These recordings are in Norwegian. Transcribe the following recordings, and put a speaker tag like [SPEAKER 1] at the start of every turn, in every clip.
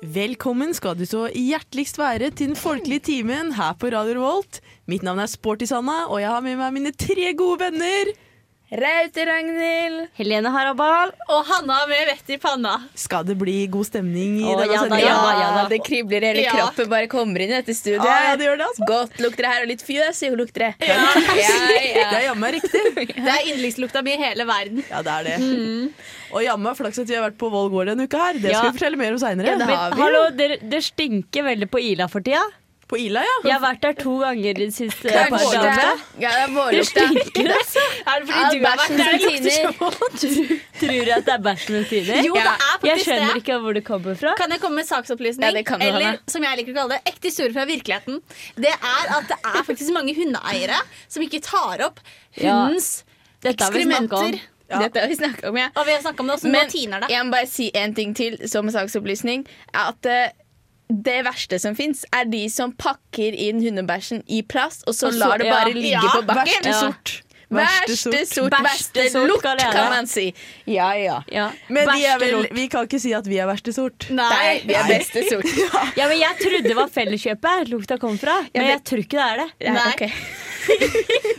[SPEAKER 1] Velkommen skal du så hjerteligst være til den folkelige timen her på Radio Revolt. Mitt navn er Sporty Sanna, og jeg har med meg mine tre gode venner.
[SPEAKER 2] Raute Ragnhild.
[SPEAKER 3] Helene Harabal.
[SPEAKER 4] Og Hanna med vett i panna.
[SPEAKER 1] Skal det bli god stemning i
[SPEAKER 3] Å,
[SPEAKER 1] denne
[SPEAKER 3] ja da,
[SPEAKER 1] sendingen?
[SPEAKER 2] Ja,
[SPEAKER 3] ja da.
[SPEAKER 2] det kribler i hele
[SPEAKER 4] Ja.
[SPEAKER 2] kroppen. Bare kommer inn i dette studioet.
[SPEAKER 1] Ah, ja, det gjør det, altså.
[SPEAKER 2] Godt lukter det her, og litt fjøs jo lukter det. Ja. Ja,
[SPEAKER 1] Det er jammen meg riktig.
[SPEAKER 4] Det er yndlingslukta mi i hele verden.
[SPEAKER 1] Ja, det er det. Og jammen meg flaks at vi har vært på Vold gård denne uka her. Det skal
[SPEAKER 3] Ja.
[SPEAKER 1] vi fortelle mer om seinere.
[SPEAKER 2] Ja, det har
[SPEAKER 3] Men
[SPEAKER 2] vi jo.
[SPEAKER 3] hallo, dere, dere stinker veldig på Ila for tida.
[SPEAKER 1] På Ila, ja.
[SPEAKER 3] Jeg har vært der to ganger i det siste.
[SPEAKER 2] Det er
[SPEAKER 3] par
[SPEAKER 1] vårlukta.
[SPEAKER 3] dagene.
[SPEAKER 2] vårlukta. Ja, det er
[SPEAKER 3] Dere
[SPEAKER 2] vårlukta.
[SPEAKER 3] stinker, altså.
[SPEAKER 4] Er det fordi
[SPEAKER 2] Ja,
[SPEAKER 4] du har vært
[SPEAKER 2] bæsjen
[SPEAKER 4] der?
[SPEAKER 2] som tiner.
[SPEAKER 3] Tror jeg at det er bæsjen min tider?
[SPEAKER 4] Jo, det er
[SPEAKER 3] Jeg
[SPEAKER 4] faktisk
[SPEAKER 3] skjønner
[SPEAKER 4] det.
[SPEAKER 3] ikke hvor det kommer fra.
[SPEAKER 4] Kan jeg komme med en saksopplysning?
[SPEAKER 2] Ja, det kan du,
[SPEAKER 4] Eller
[SPEAKER 2] Hanna.
[SPEAKER 4] som jeg liker å kalle det, ekte historier fra virkeligheten. Det er at det er faktisk mange hundeeiere som ikke tar opp
[SPEAKER 3] Ja.
[SPEAKER 4] hundens
[SPEAKER 3] Dette har vi snakket om.
[SPEAKER 4] ekskrementer.
[SPEAKER 1] Ja.
[SPEAKER 2] Dette har vi snakka om, ja.
[SPEAKER 4] Og vi har snakka om det også, nå
[SPEAKER 2] Men
[SPEAKER 4] tiner det.
[SPEAKER 2] jeg må bare si en ting til som saksopplysning. Er at eh, det verste som fins, er de som pakker inn hundebæsjen i plast, og så
[SPEAKER 3] Og så-
[SPEAKER 2] lar det
[SPEAKER 3] ja.
[SPEAKER 2] bare ligge
[SPEAKER 4] Ja,
[SPEAKER 2] på bakken.
[SPEAKER 3] verste
[SPEAKER 1] sort.
[SPEAKER 2] Verste sort, verste
[SPEAKER 3] Verste sort,
[SPEAKER 2] lukt,
[SPEAKER 3] kan jeg.
[SPEAKER 2] kan man si. Ja, ja.
[SPEAKER 3] Ja.
[SPEAKER 1] Men de er
[SPEAKER 3] Verste
[SPEAKER 1] vel,
[SPEAKER 3] lort.
[SPEAKER 1] vi kan ikke si at vi er verste sort.
[SPEAKER 2] Nei, vi er
[SPEAKER 1] Nei.
[SPEAKER 2] beste sort.
[SPEAKER 3] ja, men Jeg trodde det var Felleskjøpet lukta kom fra, men
[SPEAKER 2] men-
[SPEAKER 3] jeg tror ikke det er det.
[SPEAKER 2] Nei,
[SPEAKER 4] Nei.
[SPEAKER 2] ok.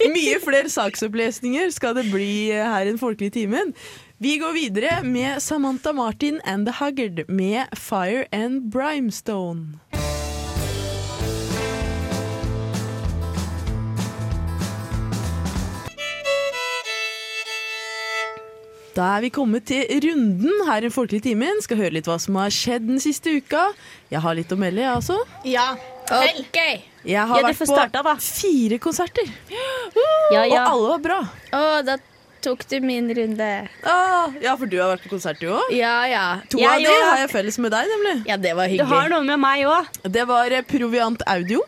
[SPEAKER 1] Mye flere saksopplesninger skal det bli her i den folkelige timen. Vi går videre med Samantha Martin and The Haggard med Fire and Brimstone. Da er vi kommet til runden her i den folkelige timen. Skal høre litt hva som har skjedd den siste uka. Jeg har litt å melde, jeg også.
[SPEAKER 4] Ja. Vel.
[SPEAKER 2] Ok.
[SPEAKER 1] Jeg har
[SPEAKER 3] Ja, du
[SPEAKER 1] vært
[SPEAKER 3] får
[SPEAKER 1] på
[SPEAKER 3] starte, da.
[SPEAKER 1] fire konserter,
[SPEAKER 3] Ja,
[SPEAKER 1] og
[SPEAKER 3] ja.
[SPEAKER 1] alle var bra.
[SPEAKER 2] Å, da tok du min runde.
[SPEAKER 1] Ah, ja, for du har vært på konsert du òg.
[SPEAKER 2] Ja, ja.
[SPEAKER 1] To
[SPEAKER 3] Jeg
[SPEAKER 1] av de
[SPEAKER 3] òg.
[SPEAKER 1] har jeg felles med deg, nemlig.
[SPEAKER 2] Ja, det var
[SPEAKER 3] Du
[SPEAKER 2] hyggelig.
[SPEAKER 3] har noe med meg òg.
[SPEAKER 1] Det var eh, Proviant Audio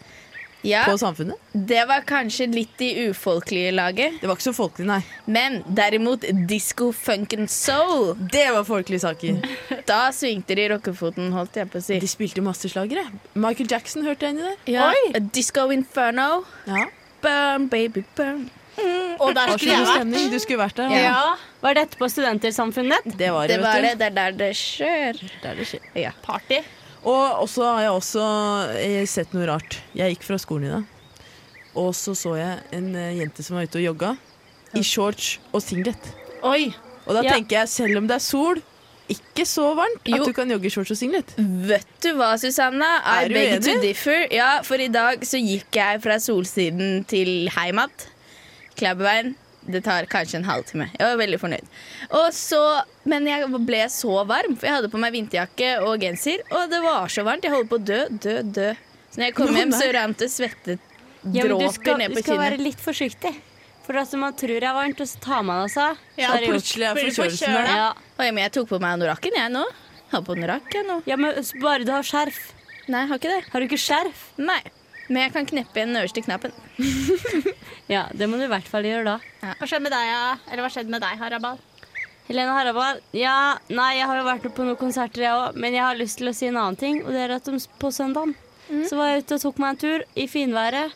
[SPEAKER 2] ja,
[SPEAKER 1] på Samfunnet.
[SPEAKER 2] det var kanskje litt i ufolkelige laget,
[SPEAKER 1] Det var ikke så folkelig, nei.
[SPEAKER 2] men derimot disco, funk and soul.
[SPEAKER 1] Det var folkelige saker.
[SPEAKER 2] Da svingte de rockefoten, holdt jeg på å si.
[SPEAKER 1] De spilte masse slagere. Michael Jackson hørte jeg inni der.
[SPEAKER 2] Ja.
[SPEAKER 3] Oi!
[SPEAKER 2] Disco inferno.
[SPEAKER 1] Ja.
[SPEAKER 2] Burn, baby, burn.
[SPEAKER 4] Og der
[SPEAKER 1] Det var så
[SPEAKER 4] skulle jeg
[SPEAKER 1] god
[SPEAKER 4] vært.
[SPEAKER 1] stemning. Du skulle vært der.
[SPEAKER 2] Ja.
[SPEAKER 1] Hanne.
[SPEAKER 4] Ja.
[SPEAKER 3] Var dette på Studentersamfunnet?
[SPEAKER 1] Det var
[SPEAKER 2] Det
[SPEAKER 1] det,
[SPEAKER 2] var det.
[SPEAKER 1] vet du.
[SPEAKER 2] Det er der det skjer.
[SPEAKER 1] Der det skjer.
[SPEAKER 2] Ja.
[SPEAKER 4] Party.
[SPEAKER 1] Og så har jeg også eh, sett noe rart. Jeg gikk fra skolen i dag, og så så jeg en eh, jente som var ute og jogga i shorts og singlet.
[SPEAKER 4] Oi.
[SPEAKER 1] Og da
[SPEAKER 3] Ja.
[SPEAKER 1] tenker jeg, selv om det er sol, ikke så varmt at
[SPEAKER 2] Jo.
[SPEAKER 1] du kan jogge i shorts og singlet.
[SPEAKER 2] Vet du hva, Susanna?
[SPEAKER 1] Er
[SPEAKER 2] I
[SPEAKER 1] du
[SPEAKER 2] beg to
[SPEAKER 1] enig?
[SPEAKER 2] differ. Ja, for i dag så gikk jeg fra solsiden til heimat. Klæbuveien. Det tar kanskje en halvtime. Jeg var veldig fornøyd. Og så, men jeg ble så varm, for jeg hadde på meg vinterjakke og genser. Og det var så varmt. Jeg holdt på å dø, dø, dø. Så når jeg kom
[SPEAKER 1] Nå,
[SPEAKER 2] hjem,
[SPEAKER 1] nei.
[SPEAKER 2] så rant det svettedråper
[SPEAKER 3] Ja, men du skal,
[SPEAKER 2] ned
[SPEAKER 3] du
[SPEAKER 2] på
[SPEAKER 3] skal være
[SPEAKER 2] kinnet.
[SPEAKER 3] litt forsiktig. For altså, man tror det er varmt, og så tar man av seg. Så
[SPEAKER 4] Ja,
[SPEAKER 3] er det gjort.
[SPEAKER 1] Plutselig er
[SPEAKER 4] Blir du
[SPEAKER 1] forkjølelsen
[SPEAKER 4] forkjøla?
[SPEAKER 1] der.
[SPEAKER 3] Ja.
[SPEAKER 2] Oi, men jeg tok på meg anorakken, jeg nå. Har på anorakk, jeg nå.
[SPEAKER 3] ja, men s- bare du har skjerf.
[SPEAKER 2] Nei, har ikke det.
[SPEAKER 3] Har du ikke skjerf?
[SPEAKER 2] Nei. Men jeg kan kneppe igjen den øverste knappen.
[SPEAKER 3] Ja, det må du i hvert fall gjøre da.
[SPEAKER 4] Hva skjedde med deg, ja? eller hva skjedde med deg, Harabal?
[SPEAKER 3] Helene Harabal, ja, nei, jeg har jo vært på noen konserter jeg òg, men jeg har lyst til å si en annen ting. Og det er at om s- på søndagen så var jeg ute og tok meg en tur i finværet.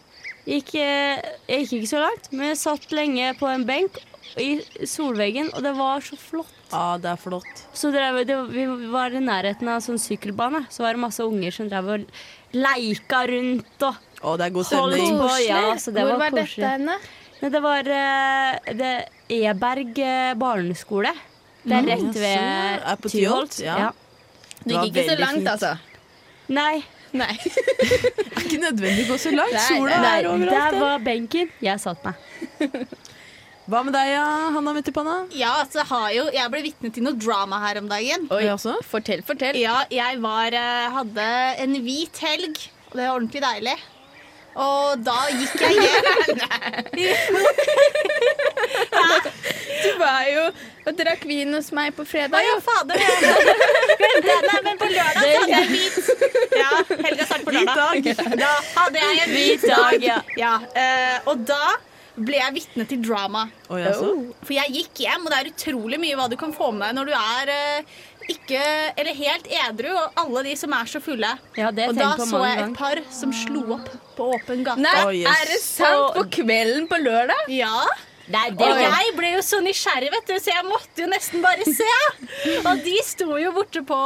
[SPEAKER 3] Gikk, eh, jeg gikk ikke så langt, men jeg satt lenge på en benk i solveggen, og det var så flott.
[SPEAKER 1] Ja, det er flott.
[SPEAKER 3] Så drev, det, vi var i nærheten av en sånn sykkelbane, så var det masse unger som drev og leika rundt og
[SPEAKER 1] Å, det er god
[SPEAKER 3] holdt
[SPEAKER 1] stemning.
[SPEAKER 3] på. Ja, så det
[SPEAKER 2] Hvor
[SPEAKER 3] var,
[SPEAKER 2] var dette
[SPEAKER 3] koselig.
[SPEAKER 2] henne?
[SPEAKER 3] Nei, det var eh, det Eberg eh, barneskole. Det er
[SPEAKER 1] Mm.
[SPEAKER 3] rett ved
[SPEAKER 1] Ja, så er på Tyholt,
[SPEAKER 3] Tyholt.
[SPEAKER 1] ja.
[SPEAKER 2] Du
[SPEAKER 1] var
[SPEAKER 2] gikk ikke så
[SPEAKER 1] veldig
[SPEAKER 2] langt,
[SPEAKER 1] fint.
[SPEAKER 2] altså.
[SPEAKER 3] Nei,
[SPEAKER 2] Nei.
[SPEAKER 1] Det er ikke nødvendig å gå så langt.
[SPEAKER 2] Nei,
[SPEAKER 1] Sola
[SPEAKER 2] nei,
[SPEAKER 1] er
[SPEAKER 3] der
[SPEAKER 1] overalt.
[SPEAKER 3] var benken. Jeg satt meg.
[SPEAKER 1] Hva med deg, ja, Hanna Mettipanna?
[SPEAKER 4] Ja, altså, jeg har jo, jeg ble vitne til noe drama her om dagen.
[SPEAKER 1] Oi. Også?
[SPEAKER 2] Fortell, fortell.
[SPEAKER 4] Ja, jeg var, eh, hadde en hvit helg, og det var ordentlig deilig. Og da gikk jeg hjem.
[SPEAKER 2] Du var jo og drakk vin hos meg på fredag.
[SPEAKER 4] ja, fader. Nei, men på lørdag så hadde jeg hvit. Ja, helga startet på lørdag. Da hadde jeg en hvit
[SPEAKER 3] dag, ja.
[SPEAKER 4] ja eh, og da ble jeg vitne til drama. Oh.
[SPEAKER 1] Oi, altså.
[SPEAKER 4] For jeg gikk hjem, og det er utrolig mye hva du kan få med deg når du er eh, ikke, eller helt edru, og alle de som er så fulle.
[SPEAKER 3] Ja, det har jeg
[SPEAKER 4] og da
[SPEAKER 3] tenkt på
[SPEAKER 4] så
[SPEAKER 3] mange
[SPEAKER 4] jeg et
[SPEAKER 3] ganger.
[SPEAKER 4] par som slo opp på åpen gate.
[SPEAKER 2] Nei,
[SPEAKER 1] Å, yes.
[SPEAKER 2] er det sant? På kvelden på lørdag?
[SPEAKER 4] Ja, Nei, det, jeg ble jo så nysgjerrig, vet du, så jeg måtte jo nesten bare se. Og de sto jo borte på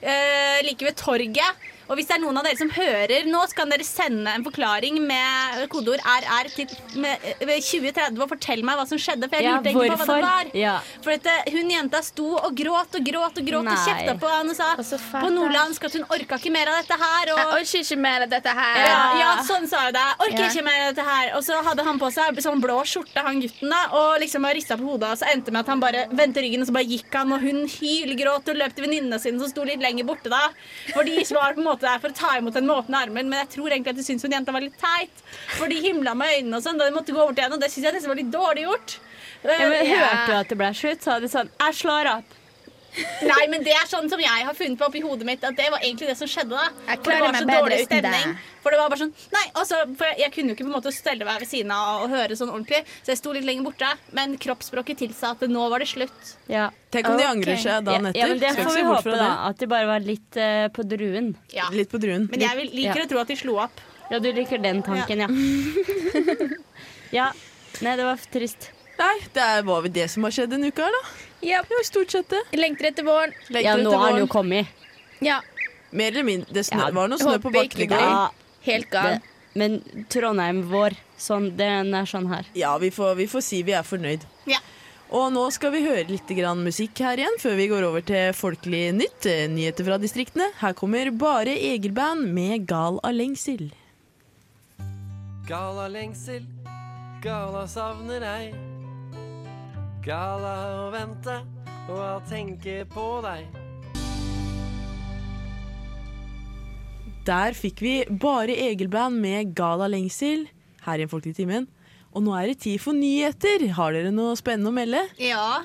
[SPEAKER 4] eh, like ved torget. Og hvis det er noen av dere som hører nå, så kan dere sende en forklaring med kodeord RR til med, eh, med 2030 og fortell meg hva som skjedde. For jeg
[SPEAKER 3] Ja,
[SPEAKER 4] lurte egentlig på hva det var.
[SPEAKER 3] hvorfor? Ja.
[SPEAKER 4] For dette, hun jenta sto og gråt og gråt og gråt og
[SPEAKER 3] Nei.
[SPEAKER 4] kjefta på han og sa
[SPEAKER 2] Og så fælt
[SPEAKER 4] på nordlandsk at hun orka ikke mer av dette her.
[SPEAKER 2] Jeg
[SPEAKER 4] Og
[SPEAKER 2] orker ikke mer av dette her.
[SPEAKER 4] ja, ja, sånn sa hun det. Orker
[SPEAKER 2] Ja.
[SPEAKER 4] ikke mer dette her. Og så hadde han på seg sånn blå skjorte, han gutten, da, og liksom rista på hodet. Og så endte det med at han bare vendte ryggen, og så bare gikk han, og hun hylgråt og løp til venninnene sine som sto litt lenger borte da. For de var på en måte der for å ta imot henne med åpne armer, men jeg tror egentlig at de syntes hun jenta var litt teit. For de himla med øynene og sånn da de måtte gå over til henne, og det syns jeg nesten var litt dårlig gjort.
[SPEAKER 3] Ja, men,
[SPEAKER 4] Eh,
[SPEAKER 3] hørte du at det ble slutt? Sa de sånn 'Jeg slår opp'.
[SPEAKER 4] Nei, men det er sånn som jeg har funnet på oppi hodet mitt At det var egentlig det som skjedde da
[SPEAKER 2] Jeg
[SPEAKER 4] For det
[SPEAKER 2] klarer
[SPEAKER 4] var så
[SPEAKER 2] meg bedre
[SPEAKER 4] dårlig
[SPEAKER 2] uten
[SPEAKER 4] stemning
[SPEAKER 2] deg.
[SPEAKER 4] For det var bare sånn Nei, altså, for jeg, jeg kunne jo ikke på en måte stelle meg ved siden av Og, og høre sånn ordentlig Så jeg sto litt lenger borte Men kroppsspråket tilsa at nå var det slutt
[SPEAKER 3] Ja.
[SPEAKER 1] Tenk om de
[SPEAKER 2] Ok.
[SPEAKER 1] angrer seg
[SPEAKER 3] Ja,
[SPEAKER 1] dagen etter.
[SPEAKER 3] ja, men det
[SPEAKER 1] Skal ikke se
[SPEAKER 3] får vi
[SPEAKER 1] bort
[SPEAKER 3] håpe,
[SPEAKER 1] fra
[SPEAKER 3] da. At de bare var litt eh, på druen.
[SPEAKER 4] Ja
[SPEAKER 1] Litt på druen.
[SPEAKER 4] Men jeg vil, liker
[SPEAKER 3] Ja.
[SPEAKER 4] å tro at de slo opp
[SPEAKER 3] Ja, du liker den tanken, ja. ja. Nei, det var f- trist.
[SPEAKER 1] Nei, det er, var vel det som har skjedd denne uka her, da.
[SPEAKER 2] Ja.
[SPEAKER 1] Ja, stort sett det.
[SPEAKER 2] Lengter etter våren.
[SPEAKER 1] Lengter
[SPEAKER 3] Ja, nå
[SPEAKER 1] etter
[SPEAKER 3] har den
[SPEAKER 1] våren.
[SPEAKER 3] jo kommet.
[SPEAKER 2] Ja,
[SPEAKER 1] Mer eller mindre. Det snø,
[SPEAKER 3] Ja,
[SPEAKER 1] var noe snø
[SPEAKER 2] håper
[SPEAKER 1] på
[SPEAKER 2] ikke
[SPEAKER 1] bakken i
[SPEAKER 2] det.
[SPEAKER 1] går.
[SPEAKER 3] Ja,
[SPEAKER 2] helt gal.
[SPEAKER 3] det. Men Trondheim vår, sånn, den er sånn her.
[SPEAKER 1] Ja, vi får, vi får si vi er fornøyd.
[SPEAKER 4] Ja
[SPEAKER 1] Og nå skal vi høre litt grann musikk her igjen, før vi går over til Folkelig nytt, eh, nyheter fra distriktene. Her kommer Bare Egerband med Gal av lengsel.
[SPEAKER 5] Gala lengsel, gala savner ei. Gala å vente og å tenke på deg.
[SPEAKER 1] Der fikk vi Bare Egerband med Gal av lengsel her i Folkelig timen. Og nå er det tid for nyheter. Har dere noe spennende å melde?
[SPEAKER 4] Ja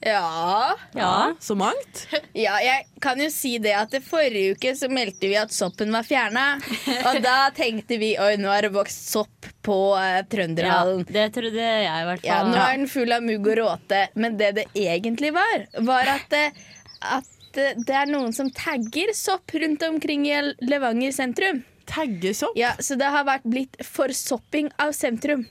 [SPEAKER 2] Ja.
[SPEAKER 3] Ja.
[SPEAKER 1] Så mangt.
[SPEAKER 2] ja, jeg kan jo si det at det forrige uke så meldte vi at soppen var fjerna. Og da tenkte vi oi, nå har det vokst sopp på eh,
[SPEAKER 3] ja.
[SPEAKER 2] Trønderhallen.
[SPEAKER 3] Det trodde jeg i hvert
[SPEAKER 2] Ja,
[SPEAKER 3] fall.
[SPEAKER 2] nå er den full av mugg og råte, men det det egentlig var, var at, eh, at eh, det er noen som tagger sopp rundt omkring i Levanger sentrum.
[SPEAKER 1] Tagges opp.
[SPEAKER 2] Ja, Så det har vært blitt forsopping av sentrum.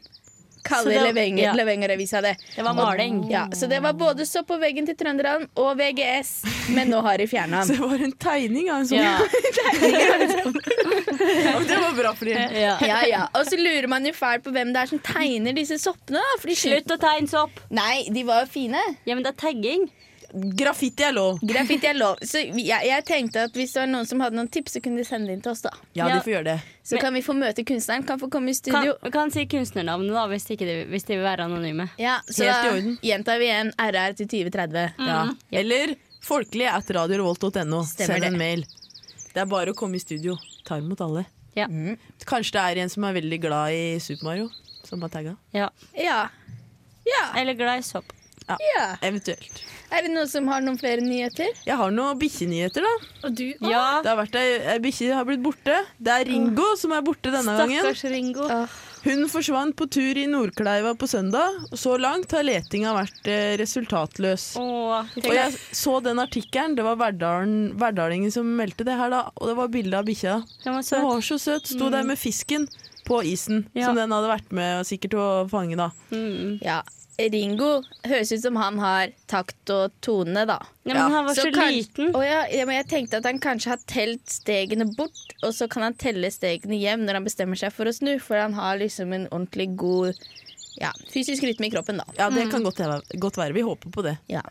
[SPEAKER 3] Så
[SPEAKER 2] Kaller
[SPEAKER 3] det-
[SPEAKER 2] Levanger,
[SPEAKER 3] ja.
[SPEAKER 2] Levanger-avisa det.
[SPEAKER 3] Det var maling.
[SPEAKER 2] Ja, Så det var både sopp på veggen til Trønderen og VGS, men nå har de fjerna
[SPEAKER 1] Så
[SPEAKER 2] den.
[SPEAKER 1] det var en tegning av en sånn.
[SPEAKER 3] Ja.
[SPEAKER 1] Ja, men det var bra for dem.
[SPEAKER 3] Ja.
[SPEAKER 2] Ja, ja. Og så lurer man jo fælt på hvem det er som tegner disse soppene. da for de skyter-
[SPEAKER 3] Slutt å tegne sopp.
[SPEAKER 2] Nei, de var jo fine.
[SPEAKER 3] Ja, men det er tagging.
[SPEAKER 1] Graffiti er lov.
[SPEAKER 2] Graffiti er lov. Så vi- jeg, jeg tenkte at hvis det var noen som hadde noen tips, så kunne de sende det inn til oss. da
[SPEAKER 1] Ja,
[SPEAKER 3] Ja.
[SPEAKER 1] de får gjøre det.
[SPEAKER 2] Så kan vi få møte kunstneren, kan få komme i
[SPEAKER 3] Kan,
[SPEAKER 2] studio.
[SPEAKER 3] kan si kunstnernavnet, da, hvis, ikke de, hvis de vil være anonyme.
[SPEAKER 2] Ja, så
[SPEAKER 1] Helt i
[SPEAKER 2] da
[SPEAKER 1] orden. Mm.
[SPEAKER 2] gjentar vi igjen RR til 2030.
[SPEAKER 1] Ja. Eller folkelig at radiorevolt.no.
[SPEAKER 2] Stemmer
[SPEAKER 1] Send
[SPEAKER 2] det.
[SPEAKER 1] en mail. Det er bare å komme i studio. Tar imot alle.
[SPEAKER 3] Ja.
[SPEAKER 1] Kanskje det er en som er veldig glad i Super Mario, som har tagga.
[SPEAKER 3] Ja.
[SPEAKER 2] Ja. ja.
[SPEAKER 3] Eller glad i sopp.
[SPEAKER 2] ja.
[SPEAKER 1] Eventuelt.
[SPEAKER 2] Er det noen som har noen flere nyheter?
[SPEAKER 1] Jeg har noen bikkjenyheter, da.
[SPEAKER 4] Og du
[SPEAKER 3] Ja.
[SPEAKER 1] Det har vært Ei ei bikkje har blitt borte. Det er Ringo som er borte denne gangen.
[SPEAKER 3] Stakkars Ringo.
[SPEAKER 1] Hun forsvant på tur i Nordkleiva på søndag. og Så langt har letinga vært eh, resultatløs.
[SPEAKER 3] Åh,
[SPEAKER 1] Og jeg så den artikkelen. Det var Verdalen, Verdalingen som meldte det her, da. Og det var bilde av bikkja.
[SPEAKER 3] Den var
[SPEAKER 1] Den
[SPEAKER 3] søt.
[SPEAKER 1] var så søt. Sto der med fisken på isen,
[SPEAKER 3] Mm. Ja.
[SPEAKER 1] som den hadde vært med sikkert å fange, da.
[SPEAKER 3] Mm.
[SPEAKER 2] Ja. Ringo høres ut som han har takt og tone, da.
[SPEAKER 3] Ja, men han var så,
[SPEAKER 2] kan-
[SPEAKER 3] liten.
[SPEAKER 2] Å ja, ja, men jeg tenkte at han kanskje har telt stegene bort, og så kan han telle stegene hjem når han bestemmer seg for å snu, for han har liksom en ordentlig god ja, fysisk rytme i kroppen, da.
[SPEAKER 1] Ja,
[SPEAKER 3] Mm.
[SPEAKER 1] det kan godt, heve- godt være. Vi håper på det.
[SPEAKER 2] Ja.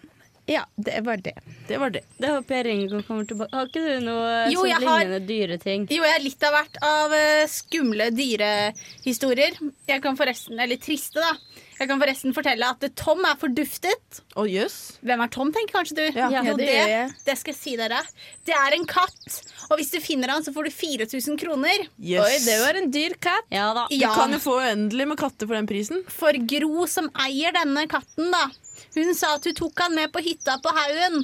[SPEAKER 2] ja, det var det.
[SPEAKER 1] Det var det.
[SPEAKER 3] Det håper jeg Ringo kommer tilbake Har ikke du noe eh,
[SPEAKER 4] Jo,
[SPEAKER 3] sånn
[SPEAKER 4] jeg har-
[SPEAKER 3] lignende dyreting?
[SPEAKER 4] Jo, jeg har litt av hvert av eh, skumle dyrehistorier. Jeg kan forresten, eller triste da. Jeg kan forresten fortelle at Tom er forduftet.
[SPEAKER 1] Å, jøs.
[SPEAKER 4] Hvem er Tom, tenker kanskje du?
[SPEAKER 1] Ja.
[SPEAKER 2] Ja,
[SPEAKER 4] Jo,
[SPEAKER 2] det
[SPEAKER 4] det,
[SPEAKER 2] gjør jeg.
[SPEAKER 4] det skal jeg si dere. Det er en katt, og hvis du finner han, så får du 4000 kroner.
[SPEAKER 1] Yes.
[SPEAKER 2] Oi, det var en dyr katt.
[SPEAKER 3] Ja da.
[SPEAKER 1] Du
[SPEAKER 4] Ja,
[SPEAKER 1] kan jo få uendelig med katter for den prisen.
[SPEAKER 4] for Gro som eier denne katten, da. Hun sa at hun tok han med på hytta på haugen,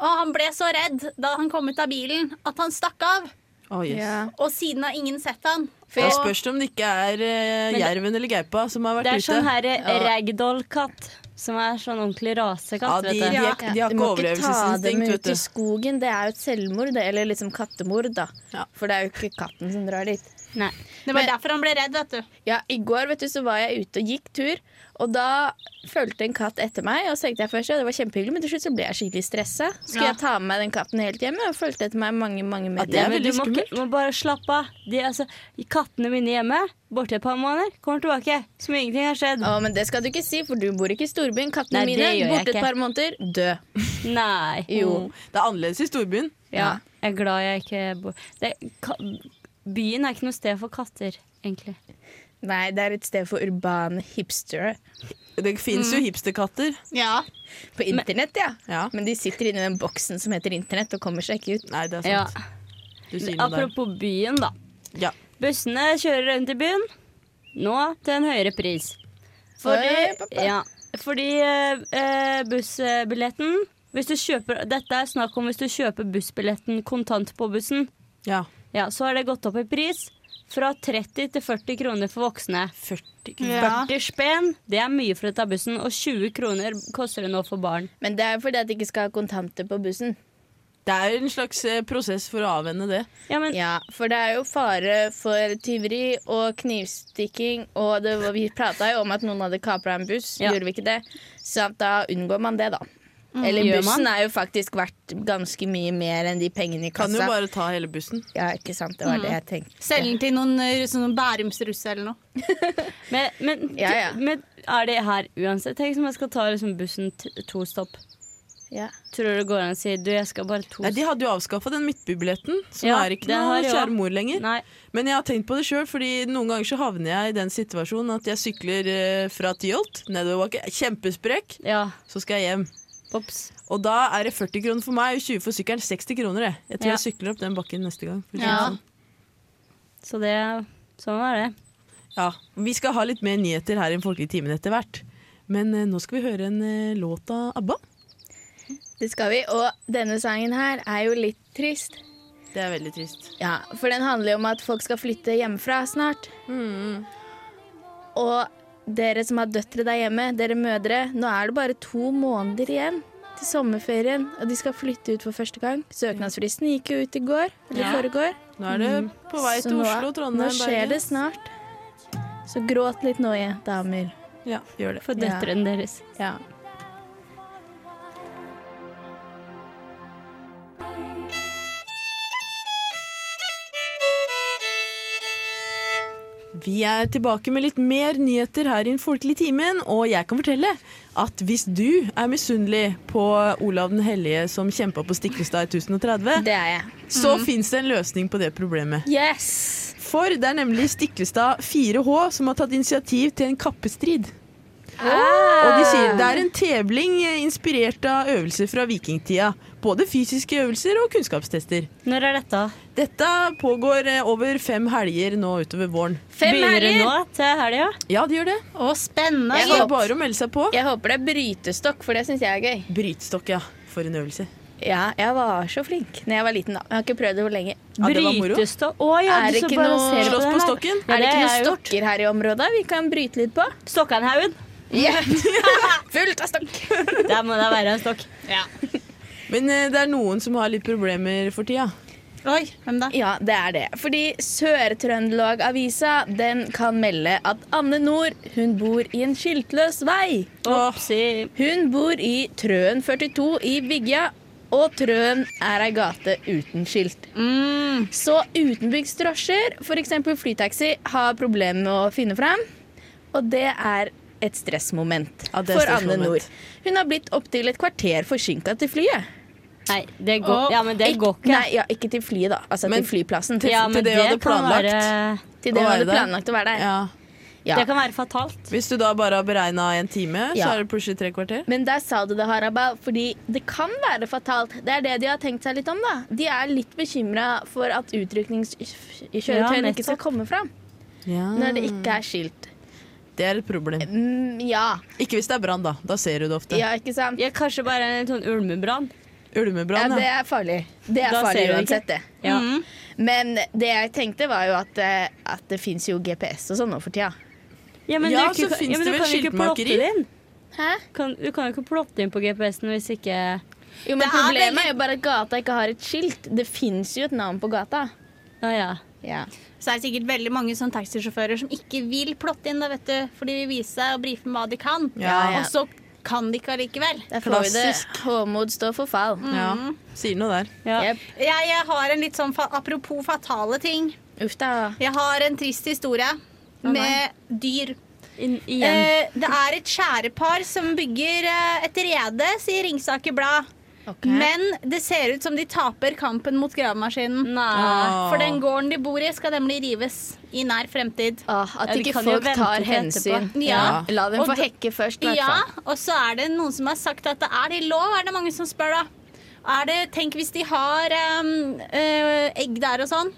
[SPEAKER 4] og han ble så redd da han kom ut av bilen at han stakk av.
[SPEAKER 1] Å, jøss.
[SPEAKER 4] Og siden har ingen sett han.
[SPEAKER 1] Da
[SPEAKER 4] Og-
[SPEAKER 1] spørs det om det ikke er eh,
[SPEAKER 3] Men det-
[SPEAKER 1] jerven eller gaupa som har vært
[SPEAKER 3] Det er
[SPEAKER 1] ute.
[SPEAKER 3] sånn her eh, ragdoll-katt. Som er sånn ordentlig
[SPEAKER 1] ja,
[SPEAKER 3] rasekatt.
[SPEAKER 1] de, de,
[SPEAKER 3] vet du.
[SPEAKER 1] har- de har
[SPEAKER 2] Du
[SPEAKER 1] ikke
[SPEAKER 2] må ikke ta
[SPEAKER 1] overlevelsesinstinkt,
[SPEAKER 2] dem ut i
[SPEAKER 1] vet du.
[SPEAKER 2] skogen. Det er jo et selvmord, det, eller liksom kattemord, da.
[SPEAKER 1] Ja.
[SPEAKER 2] For det er jo ikke katten som drar dit.
[SPEAKER 3] Nei.
[SPEAKER 4] Det var
[SPEAKER 2] Men-
[SPEAKER 4] derfor han ble redd, vet du.
[SPEAKER 2] Ja, I går vet du, så var jeg ute og gikk tur, og da fulgte en katt etter meg. Og så tenkte jeg først, ja, det var kjempehyggelig, men til slutt så ble jeg skikkelig stressa. Skulle
[SPEAKER 4] Ja.
[SPEAKER 2] jeg ta med meg den katten helt hjem? Og fulgte etter meg mange mange
[SPEAKER 1] Ja, det er
[SPEAKER 2] meter.
[SPEAKER 1] veldig
[SPEAKER 3] du må, ikke-
[SPEAKER 1] skummelt.
[SPEAKER 3] må bare slappe av. De, altså, kattene mine hjemme, borte et par måneder, kommer tilbake som ingenting har skjedd.
[SPEAKER 2] Å, men det skal du ikke si, for du bor ikke i storbyen. Kattene
[SPEAKER 3] Nei,
[SPEAKER 2] mine
[SPEAKER 3] det gjør jeg
[SPEAKER 2] borte
[SPEAKER 3] ikke.
[SPEAKER 2] et par måneder, død.
[SPEAKER 3] Nei.
[SPEAKER 2] Jo.
[SPEAKER 1] Det er annerledes i storbyen.
[SPEAKER 3] Ja, jeg er glad jeg ikke bor det, ka, Byen er ikke noe sted for katter, egentlig.
[SPEAKER 2] Nei, det er et sted for urbane hipstere.
[SPEAKER 1] Det fins
[SPEAKER 3] Mm.
[SPEAKER 1] jo hipsterkatter.
[SPEAKER 4] Ja.
[SPEAKER 2] På internett, ja.
[SPEAKER 1] Ja.
[SPEAKER 2] Men de sitter inni den boksen som heter internett, og kommer seg ikke ut.
[SPEAKER 1] Nei, det er
[SPEAKER 3] Ja.
[SPEAKER 1] sant. Du sier noe der.
[SPEAKER 3] Apropos byen, da.
[SPEAKER 1] Ja.
[SPEAKER 3] Bussene kjører rundt i byen, nå til en høyere pris.
[SPEAKER 2] Oi,
[SPEAKER 3] Fordi,
[SPEAKER 2] pappa.
[SPEAKER 3] ja, fordi eh, eh, bussbilletten hvis du kjøper, Dette er snakk om hvis du kjøper bussbilletten kontant på bussen.
[SPEAKER 1] ja.
[SPEAKER 3] Ja, Så har det gått opp i pris. Fra 30 til 40 kroner for voksne.
[SPEAKER 1] 40
[SPEAKER 4] Ja.
[SPEAKER 3] 40 spenn, det er mye for å ta bussen. Og 20 kroner koster det nå for barn.
[SPEAKER 2] Men det er fordi at de ikke skal ha kontanter på bussen.
[SPEAKER 1] Det er en slags eh, prosess for å avvenne det.
[SPEAKER 3] Ja, men
[SPEAKER 2] Ja, for det er jo fare for tyveri og knivstikking, og det, var- vi prata jo om at noen hadde kapra en buss,
[SPEAKER 3] Ja.
[SPEAKER 2] gjorde vi ikke det? Så at da unngår man det, da. Eller
[SPEAKER 3] Gjør
[SPEAKER 2] bussen er jo faktisk verdt ganske mye mer enn de pengene i
[SPEAKER 1] Kan jo
[SPEAKER 2] kassa.
[SPEAKER 1] bare ta hele bussen.
[SPEAKER 2] Ja, ikke sant, det var det jeg tenkte.
[SPEAKER 4] Selge den til noen, eh, sånn Bærumsrusse eller noe.
[SPEAKER 3] Men, men,
[SPEAKER 2] Ja, ja.
[SPEAKER 3] men er det her uansett? Tenk om jeg skal ta liksom bussen t to stopp.
[SPEAKER 2] Ja.
[SPEAKER 3] Tror du det går an å si du, jeg skal bare to
[SPEAKER 1] Nei, De hadde jo avskaffa den midtbybilletten, så
[SPEAKER 3] Ja,
[SPEAKER 1] nå er det ikke
[SPEAKER 3] det
[SPEAKER 1] noe
[SPEAKER 3] har de også.
[SPEAKER 1] kjære mor lenger.
[SPEAKER 3] Nei.
[SPEAKER 1] Men jeg har tenkt på det sjøl, Fordi noen ganger så havner jeg i den situasjonen at jeg sykler eh, fra Tyholt nedoverbakke, kjempesprekk,
[SPEAKER 3] Ja.
[SPEAKER 1] så skal jeg hjem.
[SPEAKER 3] Ops.
[SPEAKER 1] Og da er det 40 kroner for meg og 20 for sykkelen. 60 kroner, jeg. Jeg tror
[SPEAKER 3] Ja.
[SPEAKER 1] jeg sykler opp den bakken neste gang. for å si det
[SPEAKER 4] Ja.
[SPEAKER 1] sånn.
[SPEAKER 3] Så det Sånn er det.
[SPEAKER 1] Ja. Vi skal ha litt mer nyheter her i Den folkelige timen etter hvert. Men eh, nå skal vi høre en eh, låt av ABBA.
[SPEAKER 2] Det skal vi. Og denne sangen her er jo litt trist.
[SPEAKER 1] Det er veldig trist.
[SPEAKER 2] Ja, for den handler jo om at folk skal flytte hjemmefra snart.
[SPEAKER 1] Mm.
[SPEAKER 2] Og dere som har døtre der hjemme, dere mødre, nå er det bare to måneder igjen til sommerferien, og de skal flytte ut for første gang. Søknadsfristen gikk jo ut i går, eller foregår.
[SPEAKER 1] Nå er det på vei
[SPEAKER 2] Så
[SPEAKER 1] til
[SPEAKER 2] nå-
[SPEAKER 1] Oslo, Trondheim,
[SPEAKER 2] Nå skjer det snart. Så gråt litt nå, je- damer.
[SPEAKER 1] Ja, gjør det.
[SPEAKER 3] For
[SPEAKER 2] Ja.
[SPEAKER 3] døtrene deres.
[SPEAKER 2] Ja.
[SPEAKER 1] Vi er tilbake med litt mer nyheter her i Den folkelige timen, og jeg kan fortelle at hvis du er misunnelig på Olav den hellige som kjempa på Stiklestad i 1030,
[SPEAKER 2] Det er jeg.
[SPEAKER 1] så fins det en løsning på det problemet.
[SPEAKER 2] Yes!
[SPEAKER 1] For det er nemlig Stiklestad 4H som har tatt initiativ til en kappestrid.
[SPEAKER 2] Ah.
[SPEAKER 1] Og de sier det er en tevling eh, inspirert av øvelser fra vikingtida. Både fysiske øvelser og kunnskapstester.
[SPEAKER 3] Når er dette?
[SPEAKER 1] Dette pågår eh, over fem helger nå utover våren.
[SPEAKER 2] Fem
[SPEAKER 3] Begynner det
[SPEAKER 2] helger!
[SPEAKER 3] nå til helga?
[SPEAKER 1] Ja, de gjør det.
[SPEAKER 4] Å, spennende.
[SPEAKER 1] Så det er bare å melde seg på.
[SPEAKER 2] Jeg håper det er brytestokk, for det syns jeg er gøy.
[SPEAKER 1] Brytestokk, ja. For en øvelse.
[SPEAKER 2] Ja, jeg var så flink når jeg var liten, da. Jeg har ikke prøvd det på lenge.
[SPEAKER 1] Ja, det var moro.
[SPEAKER 3] Brytestå... Å ja,
[SPEAKER 2] Er
[SPEAKER 3] du
[SPEAKER 2] det
[SPEAKER 3] så
[SPEAKER 2] ikke
[SPEAKER 3] bare
[SPEAKER 2] noe-
[SPEAKER 3] ser
[SPEAKER 1] Slåss på
[SPEAKER 3] på den
[SPEAKER 1] stokken?
[SPEAKER 2] Er det ikke noen
[SPEAKER 3] stokk?
[SPEAKER 2] stokker her i området vi kan bryte litt på?
[SPEAKER 3] Stokkanhaugen.
[SPEAKER 2] Fullt av stokk!
[SPEAKER 3] Der må det være en stokk.
[SPEAKER 1] Men eh, det er noen som har litt problemer for tida.
[SPEAKER 4] Oi, hvem da?
[SPEAKER 2] Ja, det er det. Fordi Sør-Trøndelag-avisa den kan melde at Anne Nord hun bor i en skiltløs vei.
[SPEAKER 3] Opsi.
[SPEAKER 2] Hun bor i Trøen 42 i Vigja, og Trøen er ei gate uten skilt.
[SPEAKER 4] Mm.
[SPEAKER 2] Så utenbygds drosjer, f.eks. flytaxi, har problemer med å finne fram. Og det er et stressmoment
[SPEAKER 1] Ja, det er
[SPEAKER 2] for Anne
[SPEAKER 1] stressmoment.
[SPEAKER 2] Nord. Hun har blitt opptil et kvarter forsinka til flyet.
[SPEAKER 3] Nei, det går,
[SPEAKER 4] Å,
[SPEAKER 3] ja, men det
[SPEAKER 2] Ik-
[SPEAKER 3] går ikke.
[SPEAKER 2] Nei, ja, ikke til flyet, da. Altså
[SPEAKER 1] Men
[SPEAKER 2] til flyplassen. Til,
[SPEAKER 1] til-
[SPEAKER 3] Ja, men
[SPEAKER 1] det hun hadde
[SPEAKER 3] kan
[SPEAKER 1] planlagt.
[SPEAKER 3] være-
[SPEAKER 2] til det
[SPEAKER 1] å
[SPEAKER 2] hun
[SPEAKER 1] være
[SPEAKER 2] hadde
[SPEAKER 1] der.
[SPEAKER 2] planlagt å være der.
[SPEAKER 1] Ja.
[SPEAKER 2] Ja.
[SPEAKER 3] Det kan være fatalt.
[SPEAKER 1] Hvis du da bare har beregna en time,
[SPEAKER 2] Ja.
[SPEAKER 1] så er det plutselig tre kvarter.
[SPEAKER 2] Men der sa du det, Harabal, fordi det kan være fatalt. Det er det de har tenkt seg litt om, da. De er litt bekymra for at utrykningskjøretøyene
[SPEAKER 3] Ja,
[SPEAKER 2] ikke skal
[SPEAKER 3] nettopp.
[SPEAKER 2] komme fram
[SPEAKER 1] Ja.
[SPEAKER 2] når det ikke er skilt.
[SPEAKER 1] Det er et problem.
[SPEAKER 2] Mm, ja.
[SPEAKER 1] Ikke hvis det er brann, da. Da ser du det ofte.
[SPEAKER 2] ja, ikke sant?
[SPEAKER 3] Ja, kanskje bare en sånn ulmebrann.
[SPEAKER 2] Ja,
[SPEAKER 1] Ulmebrann,
[SPEAKER 2] det
[SPEAKER 1] ja.
[SPEAKER 2] er farlig. Det er
[SPEAKER 3] Da
[SPEAKER 2] farlig
[SPEAKER 3] ser du
[SPEAKER 2] uansett, det.
[SPEAKER 3] Ja.
[SPEAKER 4] Mm.
[SPEAKER 2] Men det jeg tenkte, var jo at, eh, at det fins jo GPS og sånn nå for tida.
[SPEAKER 3] Ja, men
[SPEAKER 1] Ja,
[SPEAKER 3] du, ikke-
[SPEAKER 1] så finnes
[SPEAKER 3] ja, men
[SPEAKER 1] det vel
[SPEAKER 3] du kan jo ikke
[SPEAKER 1] skiltmakeri?
[SPEAKER 3] plotte det inn.
[SPEAKER 2] Hæ?
[SPEAKER 3] Kan, du kan jo ikke plotte inn på GPS-en hvis ikke
[SPEAKER 2] Jo,
[SPEAKER 4] Det
[SPEAKER 2] men
[SPEAKER 4] er
[SPEAKER 2] Problemet
[SPEAKER 4] veldig-
[SPEAKER 2] er jo bare at gata ikke har et skilt. Det fins jo et navn på gata.
[SPEAKER 3] Å ja.
[SPEAKER 2] Ja.
[SPEAKER 4] Så er det sikkert veldig mange sånne taxisjåfører som ikke vil plotte inn det, vet du. For de vil vise seg og brife med hva de kan.
[SPEAKER 1] Ja,
[SPEAKER 2] ja.
[SPEAKER 4] Og så kan de ikke allikevel.
[SPEAKER 2] Der får vi det.
[SPEAKER 1] Klassisk.
[SPEAKER 2] Håmod står for fall.
[SPEAKER 1] Ja.
[SPEAKER 2] Mm.
[SPEAKER 1] Sier noe der.
[SPEAKER 3] Ja.
[SPEAKER 2] Jep.
[SPEAKER 4] Jeg, jeg har en litt sånn fa apropos fatale ting.
[SPEAKER 2] Uff da.
[SPEAKER 4] Jeg har en trist historie med dyr.
[SPEAKER 3] Inn, igjen.
[SPEAKER 4] Eh, det er et skjærepar som bygger eh, et rede, sier Ringsaker Blad.
[SPEAKER 2] Ok.
[SPEAKER 4] Men det ser ut som de taper kampen mot gravemaskinen.
[SPEAKER 3] Nei.
[SPEAKER 4] For den gården de bor i, skal nemlig rives i nær fremtid.
[SPEAKER 2] Åh, at
[SPEAKER 3] Ja, de
[SPEAKER 2] ikke
[SPEAKER 3] kan jo
[SPEAKER 2] folk
[SPEAKER 3] vente
[SPEAKER 2] tar
[SPEAKER 3] til
[SPEAKER 2] hensyn.
[SPEAKER 4] etterpå. Ja.
[SPEAKER 2] La dem
[SPEAKER 4] Og
[SPEAKER 2] få
[SPEAKER 4] da-
[SPEAKER 2] hekke først, i hvert
[SPEAKER 4] Ja,
[SPEAKER 2] fall.
[SPEAKER 4] og så er det noen som har sagt at det er det lov, er det mange som spør da. Er det, tenk hvis de har em, eh, egg der og sånn.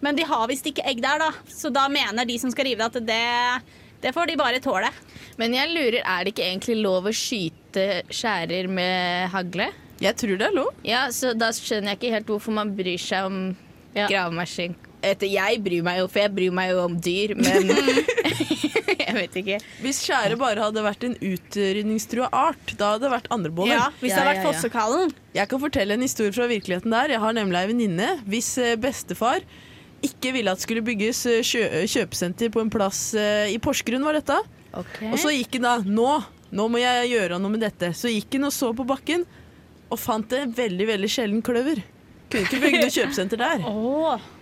[SPEAKER 4] Men de har visst ikke egg der, da. Så da mener de som skal rive det, at det, det får de bare tåle.
[SPEAKER 2] Men jeg lurer, er det ikke egentlig lov å skyte skjærer med hagle?
[SPEAKER 1] Jeg tror det er lov.
[SPEAKER 2] Ja, så da skjønner jeg ikke helt hvorfor man bryr seg om
[SPEAKER 3] Ja.
[SPEAKER 2] gravemaskin. Etter, jeg bryr meg jo, for jeg bryr meg jo om dyr, men Jeg vet ikke.
[SPEAKER 1] Hvis skjæret bare hadde vært en utrydningstrua art, da hadde det vært andre boller.
[SPEAKER 4] Ja, hvis det har
[SPEAKER 2] Ja,
[SPEAKER 4] vært
[SPEAKER 2] ja, ja.
[SPEAKER 4] Fossekallen.
[SPEAKER 1] Jeg kan fortelle en historie fra virkeligheten der. Jeg har nemlig ei venninne hvis eh, bestefar ikke ville at det skulle bygges eh, kjø kjøpesenter på en plass eh, i Porsgrunn, var dette. Og så gikk han da Nå! Nå må jeg gjøre noe med dette. Så gikk han og så på bakken, og fant en veldig veldig sjelden kløver. Kunne ikke bygge noe kjøpesenter der.